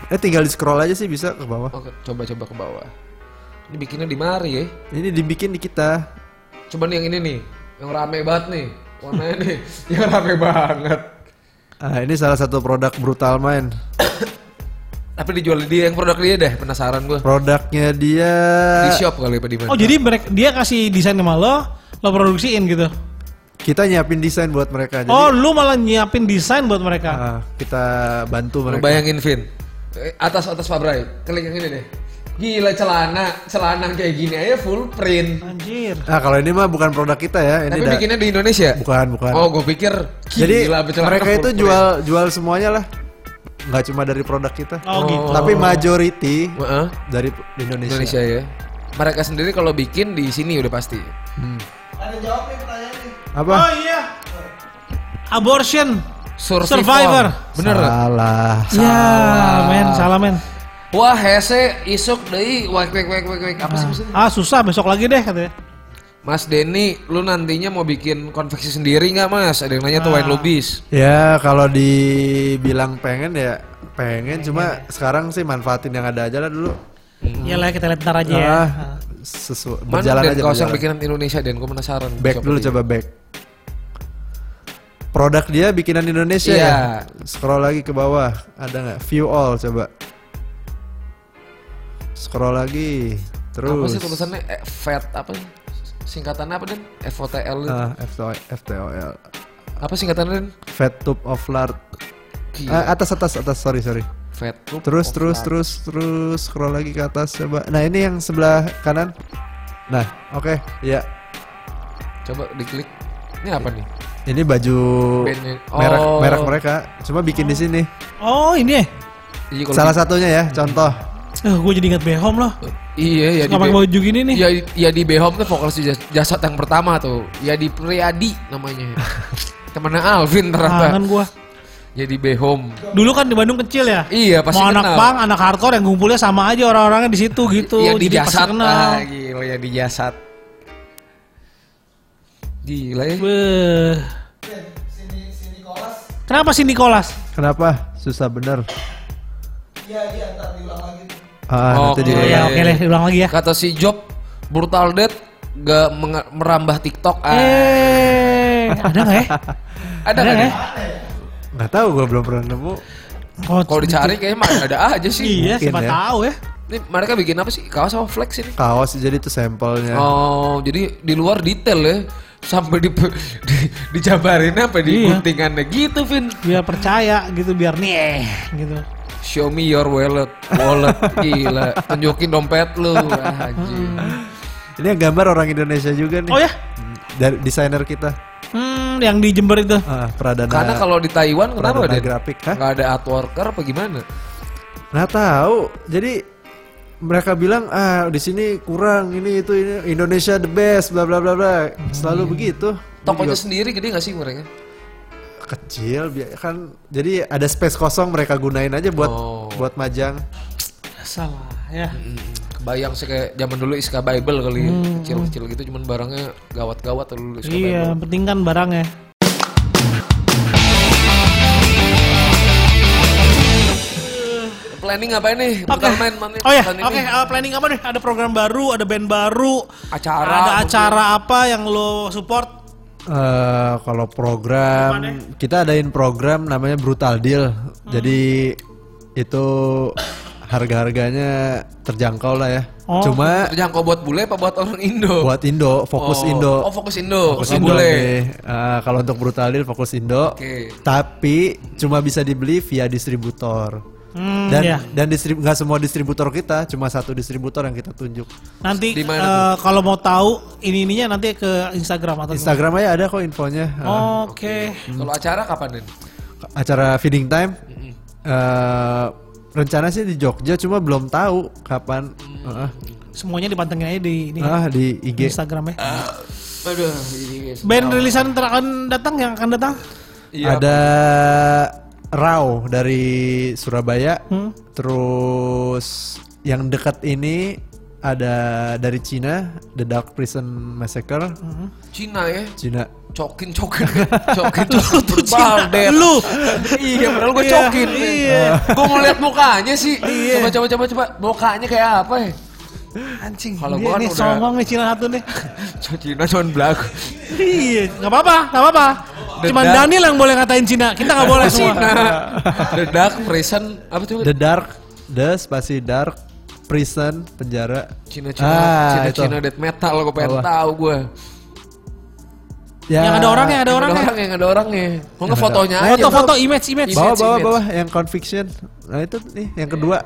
S3: Eh tinggal di scroll aja sih bisa ke bawah.
S2: Oke, coba-coba ke bawah. Ini bikinnya di mari ya.
S3: Ini dibikin di kita.
S2: Coba nih yang ini nih, yang rame banget nih. Warnanya nih, yang rame banget.
S3: Ah, ini salah satu produk brutal main.
S2: Tapi dijual di dia yang produk dia deh, penasaran gue.
S3: Produknya dia
S2: Di shop kali apa di mana?
S1: Oh, jadi mereka dia kasih desain sama lo, lo produksiin gitu.
S3: kita nyiapin desain buat mereka. Jadi
S1: oh, lu malah nyiapin desain buat mereka.
S3: ah, kita bantu
S2: Lu
S3: mereka.
S2: bayangin Vin. Eh, Atas atas Fabrai, klik yang ini deh. Gila celana, celana kayak gini aja full print.
S1: Anjir.
S3: Nah, kalau ini mah bukan produk kita ya. Ini
S2: Tapi
S3: da-
S2: bikinnya di Indonesia.
S3: bukan bukan.
S2: Oh, gue pikir
S3: Jadi
S2: gila, celana
S3: mereka
S2: full
S3: itu
S2: print.
S3: jual jual semuanya lah. Nggak cuma dari produk kita.
S1: Oh, gitu.
S3: Tapi majority
S2: Heeh.
S3: dari Indonesia.
S2: Indonesia ya. Mereka sendiri kalau bikin di sini udah pasti.
S1: Oh
S3: Apa?
S1: iya. Abortion.
S2: Survivor.
S1: Survivor.
S2: Bener.
S3: Salah.
S1: Ya, men, salah men.
S2: Wah, hese isuk deui wek wek wek wek wek. Apa sih maksudnya?
S1: Ah, susah besok lagi deh katanya.
S2: Mas Denny, lu nantinya mau bikin konveksi sendiri nggak Mas? Ada yang nanya
S1: Ah.
S2: tuh wine lobbies.
S3: Ya kalau dibilang pengen ya pengen cuma sekarang sih manfaatin yang ada aja lah dulu.
S1: Iyalah kita lihat ntar aja ya.
S3: Ah, sesu-
S2: Mana
S3: berjalan
S2: Den kaos
S3: aja.
S2: yang
S3: berjalan.
S2: bikinan Indonesia Den? Gue penasaran.
S3: Back
S2: Siapa
S3: dulu
S2: dia?
S3: coba back. Produk dia bikinan Indonesia
S2: Iya.
S3: ya. Scroll lagi ke bawah, ada nggak? View all coba. Scroll lagi, terus.
S2: Apa sih tulisannya? Eh, Fat apa? Singkatannya apa Den? FOTL. itu.
S3: Ah, FTO- FTOL,
S2: Apa singkatannya Den?
S3: Fat Tube of Lard.
S2: Gila.
S3: Ah, atas atas atas, sorry sorry.
S2: Fat. Group
S3: Terus
S2: of
S3: terus
S2: Lab.
S3: terus terus scroll lagi ke atas coba. Nah ini yang sebelah kanan. Nah oke ya.
S2: Coba diklik. Ini apa nih?
S3: Ini baju
S2: Bandnya.
S3: merek
S2: Oh.
S3: merek mereka. Cuma bikin di sini.
S1: Oh, ini ya.
S2: Iya, kalau
S3: Salah
S2: di-
S3: satunya ya contoh.
S1: Eh, gue jadi ingat Behom loh.
S2: Iya, ya
S1: Suka pakai baju gini nih.
S2: Ya, ya di Behom tuh vokalis jas- jasad yang pertama tuh. Ya di Priadi namanya. Temennya Alvin ternyata. Iya,
S1: Kangen gua.
S2: Jadi Behom.
S1: Dulu kan di Bandung kecil ya.
S2: Iya, pasti
S1: Mau anak
S2: kenal.
S1: pang, anak hardcore yang ngumpulnya sama aja orang-orangnya di situ gitu.
S2: ya di
S1: Jadi pasti
S2: jasad
S1: kenal.
S2: lah, gila ya di jasad. Gila ya.
S1: Beuh. Kenapa si Nicholas?
S3: Kenapa susah bener? Ah, nanti
S2: Oke.
S3: di-
S1: Ya oke deh, ulang lagi ya.
S2: Kata si Job, brutal death gak menge- merambah TikTok. Ah.
S1: Eh, ada nggak ya?
S2: ada
S1: Ada
S2: nggak
S1: nggak
S2: nih?
S1: ya?
S3: nggak tahu gue belum pernah nemu
S2: Kalau dicari kayaknya mah ada aja sih.
S1: Iya,
S3: Mungkin
S1: siapa
S3: ya.
S1: tahu ya.
S2: Ini mereka bikin apa sih? Kaos sama flex ini?
S3: kaos jadi itu
S1: Iya.
S3: sampelnya
S2: Oh, jadi di luar detail ya. Sampai di, di dijabarin apa di
S1: Iya.
S2: guntingannya gitu, Vin.
S1: Biar percaya gitu, biar nih gitu.
S2: Show me your wallet. Wallet gila. Tunjukin dompet lu. Ah, anjing.
S3: ini yang gambar orang Indonesia juga nih
S1: Oh ya?
S3: dari desainer kita
S1: Hmm, yang di Jember itu.
S3: ah, pradana
S2: Karena
S1: Nah,
S2: kalau di Taiwan kenapa
S3: Pradana
S2: ada
S3: grafik, hah?
S2: Gak ada artworker apa gimana?
S3: nggak tahu jadi mereka bilang ah di sini kurang ini itu ini Indonesia the best bla bla bla bla selalu
S2: Hmm.
S3: begitu Gua
S2: Tokonya
S1: Iya.
S3: juga
S2: sendiri gede gak sih mereka?
S3: kecil bi- kan jadi ada space kosong mereka gunain aja buat
S2: Oh.
S3: buat majang
S1: Salah ya.
S2: Bayang sih kayak zaman dulu Iska Bible kali ya.
S1: Hmm.
S2: kecil-kecil gitu cuman barangnya gawat-gawat dulu Iska Bible.
S1: Iya, penting kan barangnya.
S2: Planning apa nih? Brutal main mana?
S1: Oh ya,
S2: Tahun
S1: oke.
S2: ini.
S1: uh, planning apa nih? Ada program baru, ada band baru,
S2: Acara
S1: ada
S2: mungkin.
S1: acara apa yang lo support?
S3: Eh, kalau program kita adain program namanya Brutal Deal. Jadi itu harga-harganya terjangkau lah ya.
S1: Oh.
S3: Cuma
S2: Terjangkau buat bule apa buat orang Indo?
S3: buat Indo fokus
S2: Oh.
S3: Indo.
S2: Oh, fokus Indo.
S3: Fokus
S2: Nggak
S3: Indo
S2: boleh.
S3: nih. Eh, kalau untuk Brutal Deal fokus Indo.
S2: Oke.
S3: Tapi cuma bisa dibeli via distributor.
S1: Hmm,
S3: Dan
S1: ya.
S3: dan distrib nggak semua distributor kita, cuma satu distributor yang kita tunjuk.
S1: Nanti
S2: Di
S1: eh,
S2: mana
S1: kalau mau tahu ini ininya nanti ke Instagram atau Oh,
S3: Instagram aja ada kok infonya. Eh,
S1: Oke.
S2: Kalau acara kapan Den?
S3: acara feeding time eh rencana sih di Jogja cuma belum tahu kapan Heeh.
S1: Semuanya dipantengin aja di ini
S3: ah di IG
S1: Instagram ya.
S2: Ah, Aduh, ini
S1: Band rilisan ter- akan datang yang akan datang. Iya,
S2: Iya.
S3: ada Rao dari Surabaya
S1: Hmm.
S3: terus yang dekat ini ada dari Cina The Dark Prison Massacre
S1: Hmm.
S2: Cina ya.
S3: Cina
S2: Cokin cokin cokin cokin
S1: Tuh, Cina. Lu.
S2: iya padahal gue
S1: Iya,
S2: cokin
S1: iya.
S2: gue mau lihat mukanya sih coba coba coba coba mukanya kayak apa ya
S1: Anjing. Kalau
S2: Kalau gua kan
S1: nih
S2: udah-
S1: songong nih Cina satu nih.
S2: Cina cuman belagu
S1: iya, enggak apa-apa, enggak apa-apa.
S2: The
S1: Cuman
S2: Dark-
S1: Daniel yang boleh ngatain Cina, kita nggak boleh semua.
S2: Cina The Dark Prison apa tuh
S3: The Dark The spasi Dark Prison penjara
S2: Cina Cina
S3: Ah,
S2: Cina
S3: itu.
S2: Cina death metal gue pengen
S3: Apa?
S2: tahu gue
S3: Ya,
S1: Yang ada orangnya, ada orangnya.
S2: orang yang ada orangnya mau nggak fotonya aja
S1: Foto-foto image image.
S2: Ba-
S3: bawah
S2: Image,
S3: bawah
S2: image.
S3: bawah yang conviction nah itu nih yang kedua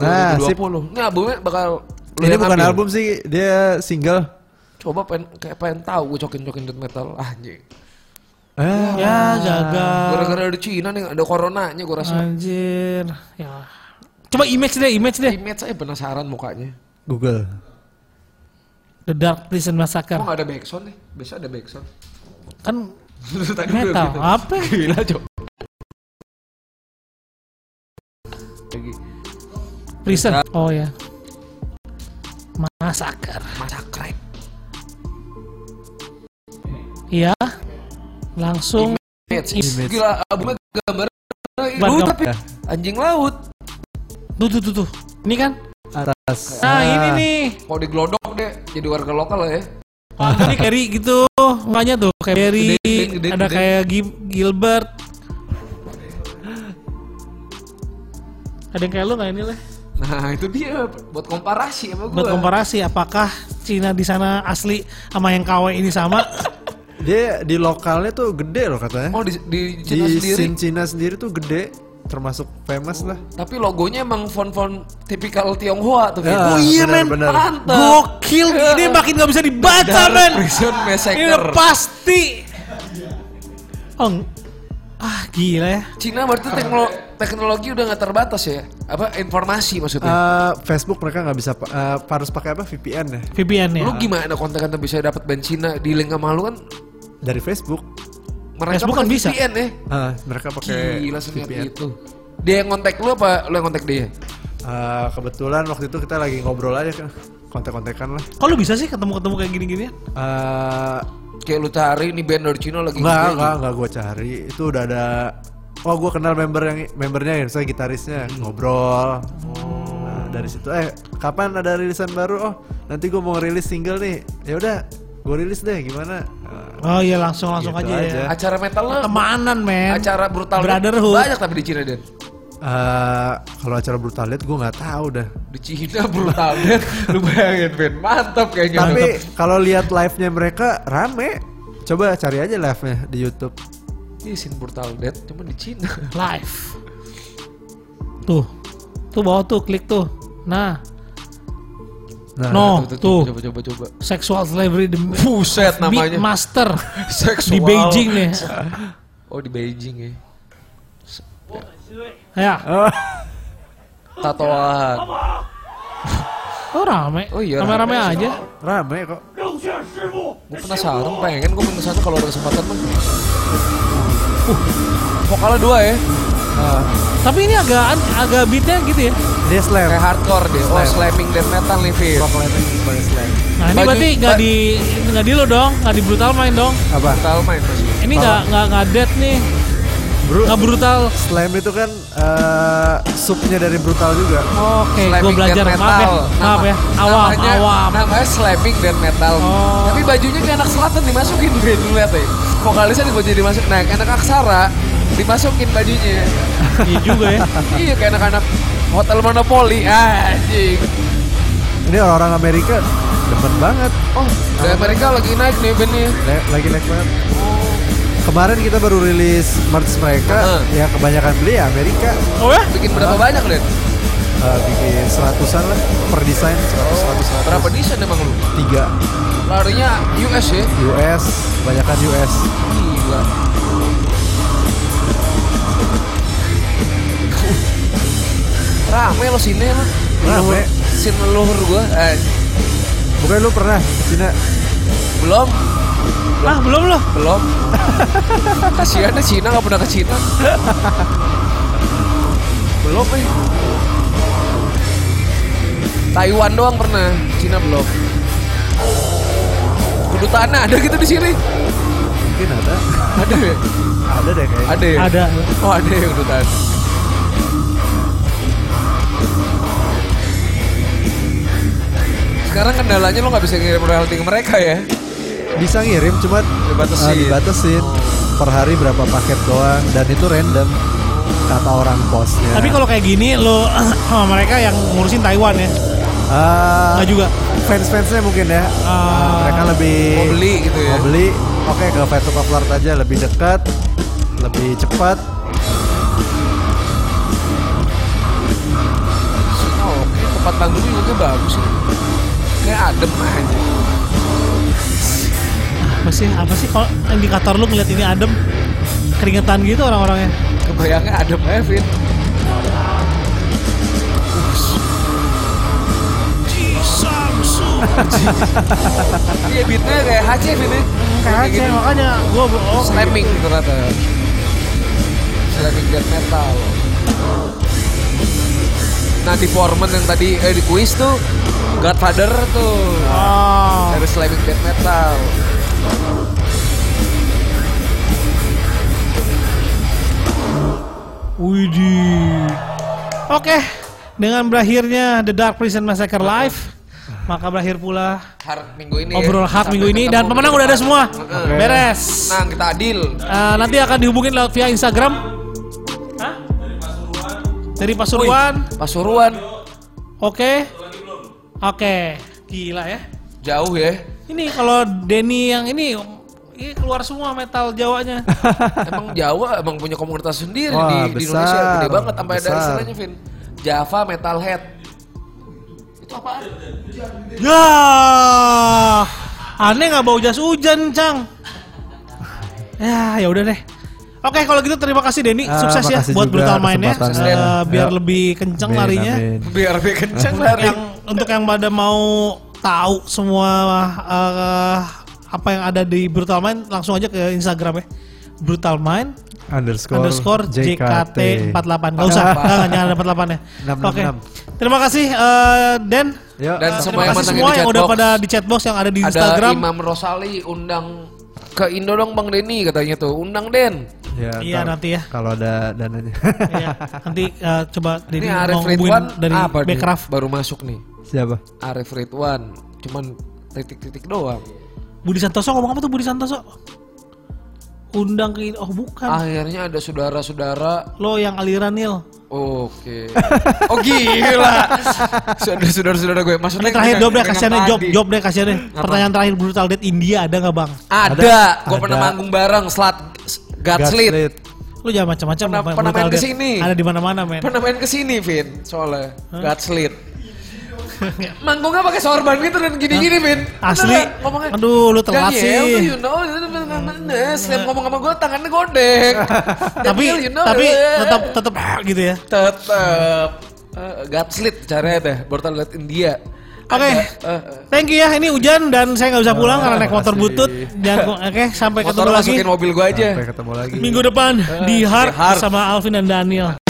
S1: Iya.
S3: nah sip
S2: puluh ini albumnya bakal lu
S3: ini
S2: yang
S3: bukan
S2: ambil.
S3: album sih dia single
S2: coba pengen kayak pengen tahu gue cokin cokin death metal ah anjing
S3: ah,
S1: Ya gagal.
S2: gara-gara ada Cina nih ada coronanya gue
S1: Ah.
S2: rasa
S1: Anjir. Ya. Coba image deh, image deh.
S2: image saya penasaran mukanya
S3: Google
S1: The Dark Prison Massacre.
S2: Kok nggak ada backsound nih? Biasa ada backsound.
S1: Kan
S2: Tadi udah
S1: metal
S2: gitu.
S1: apa?
S2: Gila, Cok. Lagi
S1: Prison. Oh ya. Massacre.
S2: masa crack.
S1: Iya. Langsung
S2: Image. Gila, albumnya gambar
S1: Bandung.
S2: laut tapi
S3: Ya.
S2: anjing laut.
S1: tuh tuh tuh tuh. Ini kan?
S3: atas
S1: Nah,
S2: Ah.
S1: ini nih.
S2: Kalau digelodok deh, jadi warga lokal lah ya.
S1: Wah, ini Kerry gitu. Mukanya tuh kayak Kerry,
S2: Gede, gede, gede,
S1: ada
S2: gede.
S1: kayak Gil- Gilbert. Ada yang kayak lu nggak ini leh?
S2: Nah itu dia buat komparasi sama gue.
S1: Buat komparasi, apakah Cina di sana asli sama yang KW ini sama?
S3: dia di lokalnya tuh gede loh katanya
S2: Oh di, di
S3: di
S2: Cina sendiri.
S3: scene Cina sendiri tuh gede termasuk famous lah
S2: Tapi logonya emang font-font tipikal Tionghoa tuh.
S3: Ya,
S2: Vin. Oh,
S1: iya,
S3: benar,
S1: men.
S3: benar.
S2: Mantap.
S1: Gokil, ini makin nggak bisa dibaca
S2: Dark
S1: men.
S2: Prison
S1: Ini
S2: Massacre.
S1: udah pasti. Oh, ng- ah gila ya.
S2: Cina berarti teknolo- teknologi udah nggak terbatas ya? Apa
S1: Ah,
S2: informasi maksudnya?
S3: Eh, Facebook mereka nggak bisa pa- eh, harus pakai apa VPN ya
S1: VPN ya.
S2: lu gimana kontak-kontak bisa dapat band Cina di link sama lu kan?
S3: dari Facebook
S2: Mereka
S1: Facebook kan
S2: pakai
S1: bisa.
S2: VPN ya?
S3: Ah, mereka pakai
S2: Gila senyap
S3: VPN
S2: itu. Dia yang kontak lu apa lu yang kontak dia?
S3: Eh, kebetulan waktu itu kita lagi ngobrol aja kan kontek-kontekan lah
S1: Kok lu bisa sih ketemu-ketemu kayak gini-gini?
S3: Eh,
S2: Kayak lu cari nih band dari Cina lagi gitu.
S3: Enggak,
S2: gede.
S3: enggak, enggak gue cari. Itu udah ada Oh, gue kenal member yang membernya ya, misalnya gitarisnya ngobrol. Nah, dari situ eh kapan ada rilisan baru oh nanti gue mau rilis single nih ya udah gue rilis deh gimana Eh,
S1: Oh iya langsung langsung
S3: Gitu
S1: aja,
S3: aja.
S1: ya.
S2: Acara metal lo,
S1: Temanan men.
S2: acara brutal Death
S1: Brotherhood.
S2: banyak tapi di Cina Den.
S3: eh, kalau acara brutal liat gue nggak tahu dah
S2: Di Cina brutal Death, lu bayangin Ben, mantap kayaknya.
S3: tapi
S2: Mantap.
S3: kalau lihat live nya mereka rame coba cari aja live nya di YouTube
S2: Ini scene Iya brutal Death cuman di Cina.
S1: Live. Tuh. Tuh bawah tuh klik tuh. Nah,
S3: nah
S1: No. Oh,
S2: Tuh, tuh,
S1: tuh.
S2: Coba coba coba.
S1: sexual slavery the
S2: Buset namanya.
S1: master
S2: Seksual.
S1: di Beijing nih.
S2: Oh di Beijing ya.
S1: Ya,
S3: Oh,
S2: Tatoan.
S1: oh rame.
S2: Oh iya,
S1: Rame-rame
S2: rame.
S1: aja.
S3: rame kok
S2: Gue penasaran, pengen gue penasaran kalau ada kesempatan mah. Uh, vokalnya dua ya,
S1: Tapi ini agak an- agak beatnya gitu ya.
S3: dia slam
S2: kayak hardcore deh. Oh, slamming death metal nih, Fit.
S3: rock live bukan slam
S1: Nah ini
S2: Baju-
S1: berarti nggak
S2: ba-
S1: di nggak di lo dong, nggak di brutal main dong.
S3: apa
S2: Brutal main masih.
S1: Ini nggak nggak nggak dead nih,
S3: bro
S1: nggak brutal.
S3: slam itu kan eh, subnya dari brutal juga
S1: Oke, gue
S2: Slamming
S1: belajar
S2: death
S1: maaf ya,
S2: metal.
S1: maaf ya.
S2: Nama-
S1: Awam,
S2: namanya,
S1: awam.
S2: Namanya slamming death metal.
S1: Oh.
S2: Tapi bajunya kayak anak selatan dimasukin, Ben. Lu lihat deh. Vokalisnya gue jadi masuk. Nah, kayak anak aksara dimasukin bajunya.
S1: Iya juga ya.
S2: iya, kayak anak-anak hotel monopoli. Anjing.
S3: ini orang-orang Amerika demen banget
S2: Oh, dari mereka lagi naik nih bandnya.
S3: Le- lagi naik banget kemarin kita baru rilis merch mereka
S2: Heeh.
S3: ya kebanyakan beli ya Amerika
S1: Oh ya?
S2: Bikin berapa banyak, Den?
S3: Eh, bikin seratusan lah per desain seratus seratus seratus
S2: Berapa desain emang lu?
S3: tiga
S2: Larinya US ya?
S3: US kebanyakan US
S2: Gila. Rame lo sini lo.
S3: Rame.
S2: Sin leluhur gua. Eh,
S3: bukan lu pernah Cina
S2: belum,
S1: Ah belum loh.
S2: belum. Kasihan deh Cina nggak pernah ke Cina. belum eh. Taiwan doang pernah, Cina belum. Kedutaan ada gitu di sini.
S3: mungkin ada
S2: Ada ya?
S3: ada deh kayaknya
S2: Ada ya?
S1: Ada.
S2: Oh ada yang kedutaan Sekarang kendalanya lo nggak bisa ngirim royalti ke mereka ya
S3: bisa ngirim cuman
S2: Dibatasin.
S3: eh, dibatasin per hari berapa paket doang dan itu random kata orang posnya
S1: Tapi kalau kayak gini lo sama mereka yang ngurusin Taiwan ya,
S3: Eh,
S1: nggak juga.
S3: fans-fansnya mungkin ya
S1: Ah.
S3: mereka lebih
S2: Mau beli gitu ya
S3: mau beli oke ke Veto Flirt aja lebih dekat lebih cepat
S2: Oh oke, tempat panggungnya juga bagus ya. Kayak adem aja
S1: Apa sih? Apa sih? Kalau indikator lu ngeliat ini adem, keringetan gitu orang-orangnya.
S2: Kebayangnya adem aja Vin
S1: Di Samsung.
S2: Iya beatnya kayak HC Vin ya
S1: Kayak aja,
S2: gini.
S1: makanya gue oh,
S2: Slamming ternyata Slamming death metal Nah di Foreman yang tadi eh, di kuis tuh Godfather tuh
S1: Oh.
S2: Dari slamming death metal
S1: Widih. Oke, dengan berakhirnya The Dark Prison Massacre Live, maka berakhir pula
S2: Hard minggu ini ya.
S1: obrol hard
S2: Sampai
S1: minggu ini
S2: ketemu
S1: dan pemenang udah ada semua.
S2: Heeh.
S1: Beres.
S2: Tenang kita adil
S1: Eh, nanti akan dihubungin lewat via Instagram. Hah? Dari Pasuruan.
S2: Pasuruan
S1: Oke. Oke. Gila ya.
S2: Jauh ya
S1: Ini kalau Denny yang ini ini keluar semua metal Jawanya.
S2: Emang Jawa emang punya komunitas sendiri
S3: Wah,
S2: di, di Indonesia
S3: besar.
S2: Gede banget sampai ada
S3: Besar.
S2: istilahnya Vin Java Metalhead Itu apaan?
S1: ya. Aneh nggak bau jas hujan, Cang. Ya, ya udah deh. Oke, kalau gitu terima kasih Denny.
S3: Ah,
S1: Sukses ya
S3: makasih
S1: buat
S3: juga
S1: brutal mainnya.
S3: kesempatannya.
S1: Eh, biar
S3: Ya.
S1: lebih kenceng
S3: Amin,
S1: larinya.
S3: amin.
S2: Biar dia kenceng
S1: Untuk
S2: lari
S1: yang untuk yang pada mau tahu semua eh, apa yang ada di Brutal Mind langsung aja ke Instagram ya. Brutal Mind
S3: underscore,
S1: underscore JKT 48 Gak usah,
S3: Apa?
S1: jangan, jangan ada 48 ya
S3: Enam, enam,
S1: Oke,
S3: enam.
S1: terima kasih eh, Dan
S3: Yuk,
S2: Dan
S1: Eh, Terima
S2: semua yang
S1: kasih
S2: menangin
S1: semua
S2: di
S1: yang
S2: chatbox.
S1: udah pada di chatbox yang ada di
S2: Ada
S1: Instagram
S2: Imam Rosali undang ke Indo dong Bang Denny katanya tuh. Undang Den.
S3: Ya,
S1: Iya,
S3: ntar
S1: nanti ya.
S3: Kalau ada dananya.
S1: Iya, nanti eh, coba Deddy
S2: Ini Arif
S1: mau
S2: Ridwan
S1: hubungin dari
S2: apa nih?
S1: Backcraft.
S2: Baru masuk nih.
S3: Siapa?
S2: Arif Ridwan cuman titik-titik doang.
S1: Budi Santoso ngomong apa tuh Budi Santoso? Undang ke oh
S2: Ah.
S1: bukan.
S2: Akhirnya ada saudara-saudara.
S1: Lo yang aliran Nil.
S2: Oke. Oh gila. Sudah saudara-saudara gue.
S1: Ini
S2: Maksudnya
S1: terakhir job deh
S2: dengan
S1: kasihannya job
S2: tadi.
S1: job deh kasihannya. Pertanyaan terakhir brutal date India ada nggak bang?
S2: Ada. Gue pernah
S3: Ada.
S2: manggung bareng Slat Gatslit.
S3: Gaslit.
S1: Lu jangan macam-macam.
S2: Pernah-
S1: Bang,
S2: pernah
S1: brutal
S2: main
S1: date.
S2: kesini.
S1: Ada di mana-mana men.
S2: Pernah main kesini Vin soalnya Gatslit. Manggungnya pakai sorban gitu dan gini-gini Vin. Bener
S1: Asli.
S2: nggak? Ngomongnya.
S1: Aduh, lu telat
S2: Daniel,
S1: sih.
S2: you know, setiap ngomong sama gue tangannya godek.
S1: Tapi
S2: Daniel, you know,
S1: tapi
S2: eh,
S1: tetap tetap ah, gitu ya.
S2: tetep eh, Gatslit caranya teh, Bortal liat India.
S1: Oke.
S2: Ada, eh, eh,
S1: Thank you ya, ini hujan dan saya nggak bisa pulang karena naik motor
S3: makasih.
S1: butut. Dan oke, sampai
S2: Motor
S1: ketemu lagi
S2: masukin mobil gue aja.
S3: Sampai ketemu lagi.
S1: minggu depan di Heart
S2: Heart.
S1: sama Alvin dan Daniel.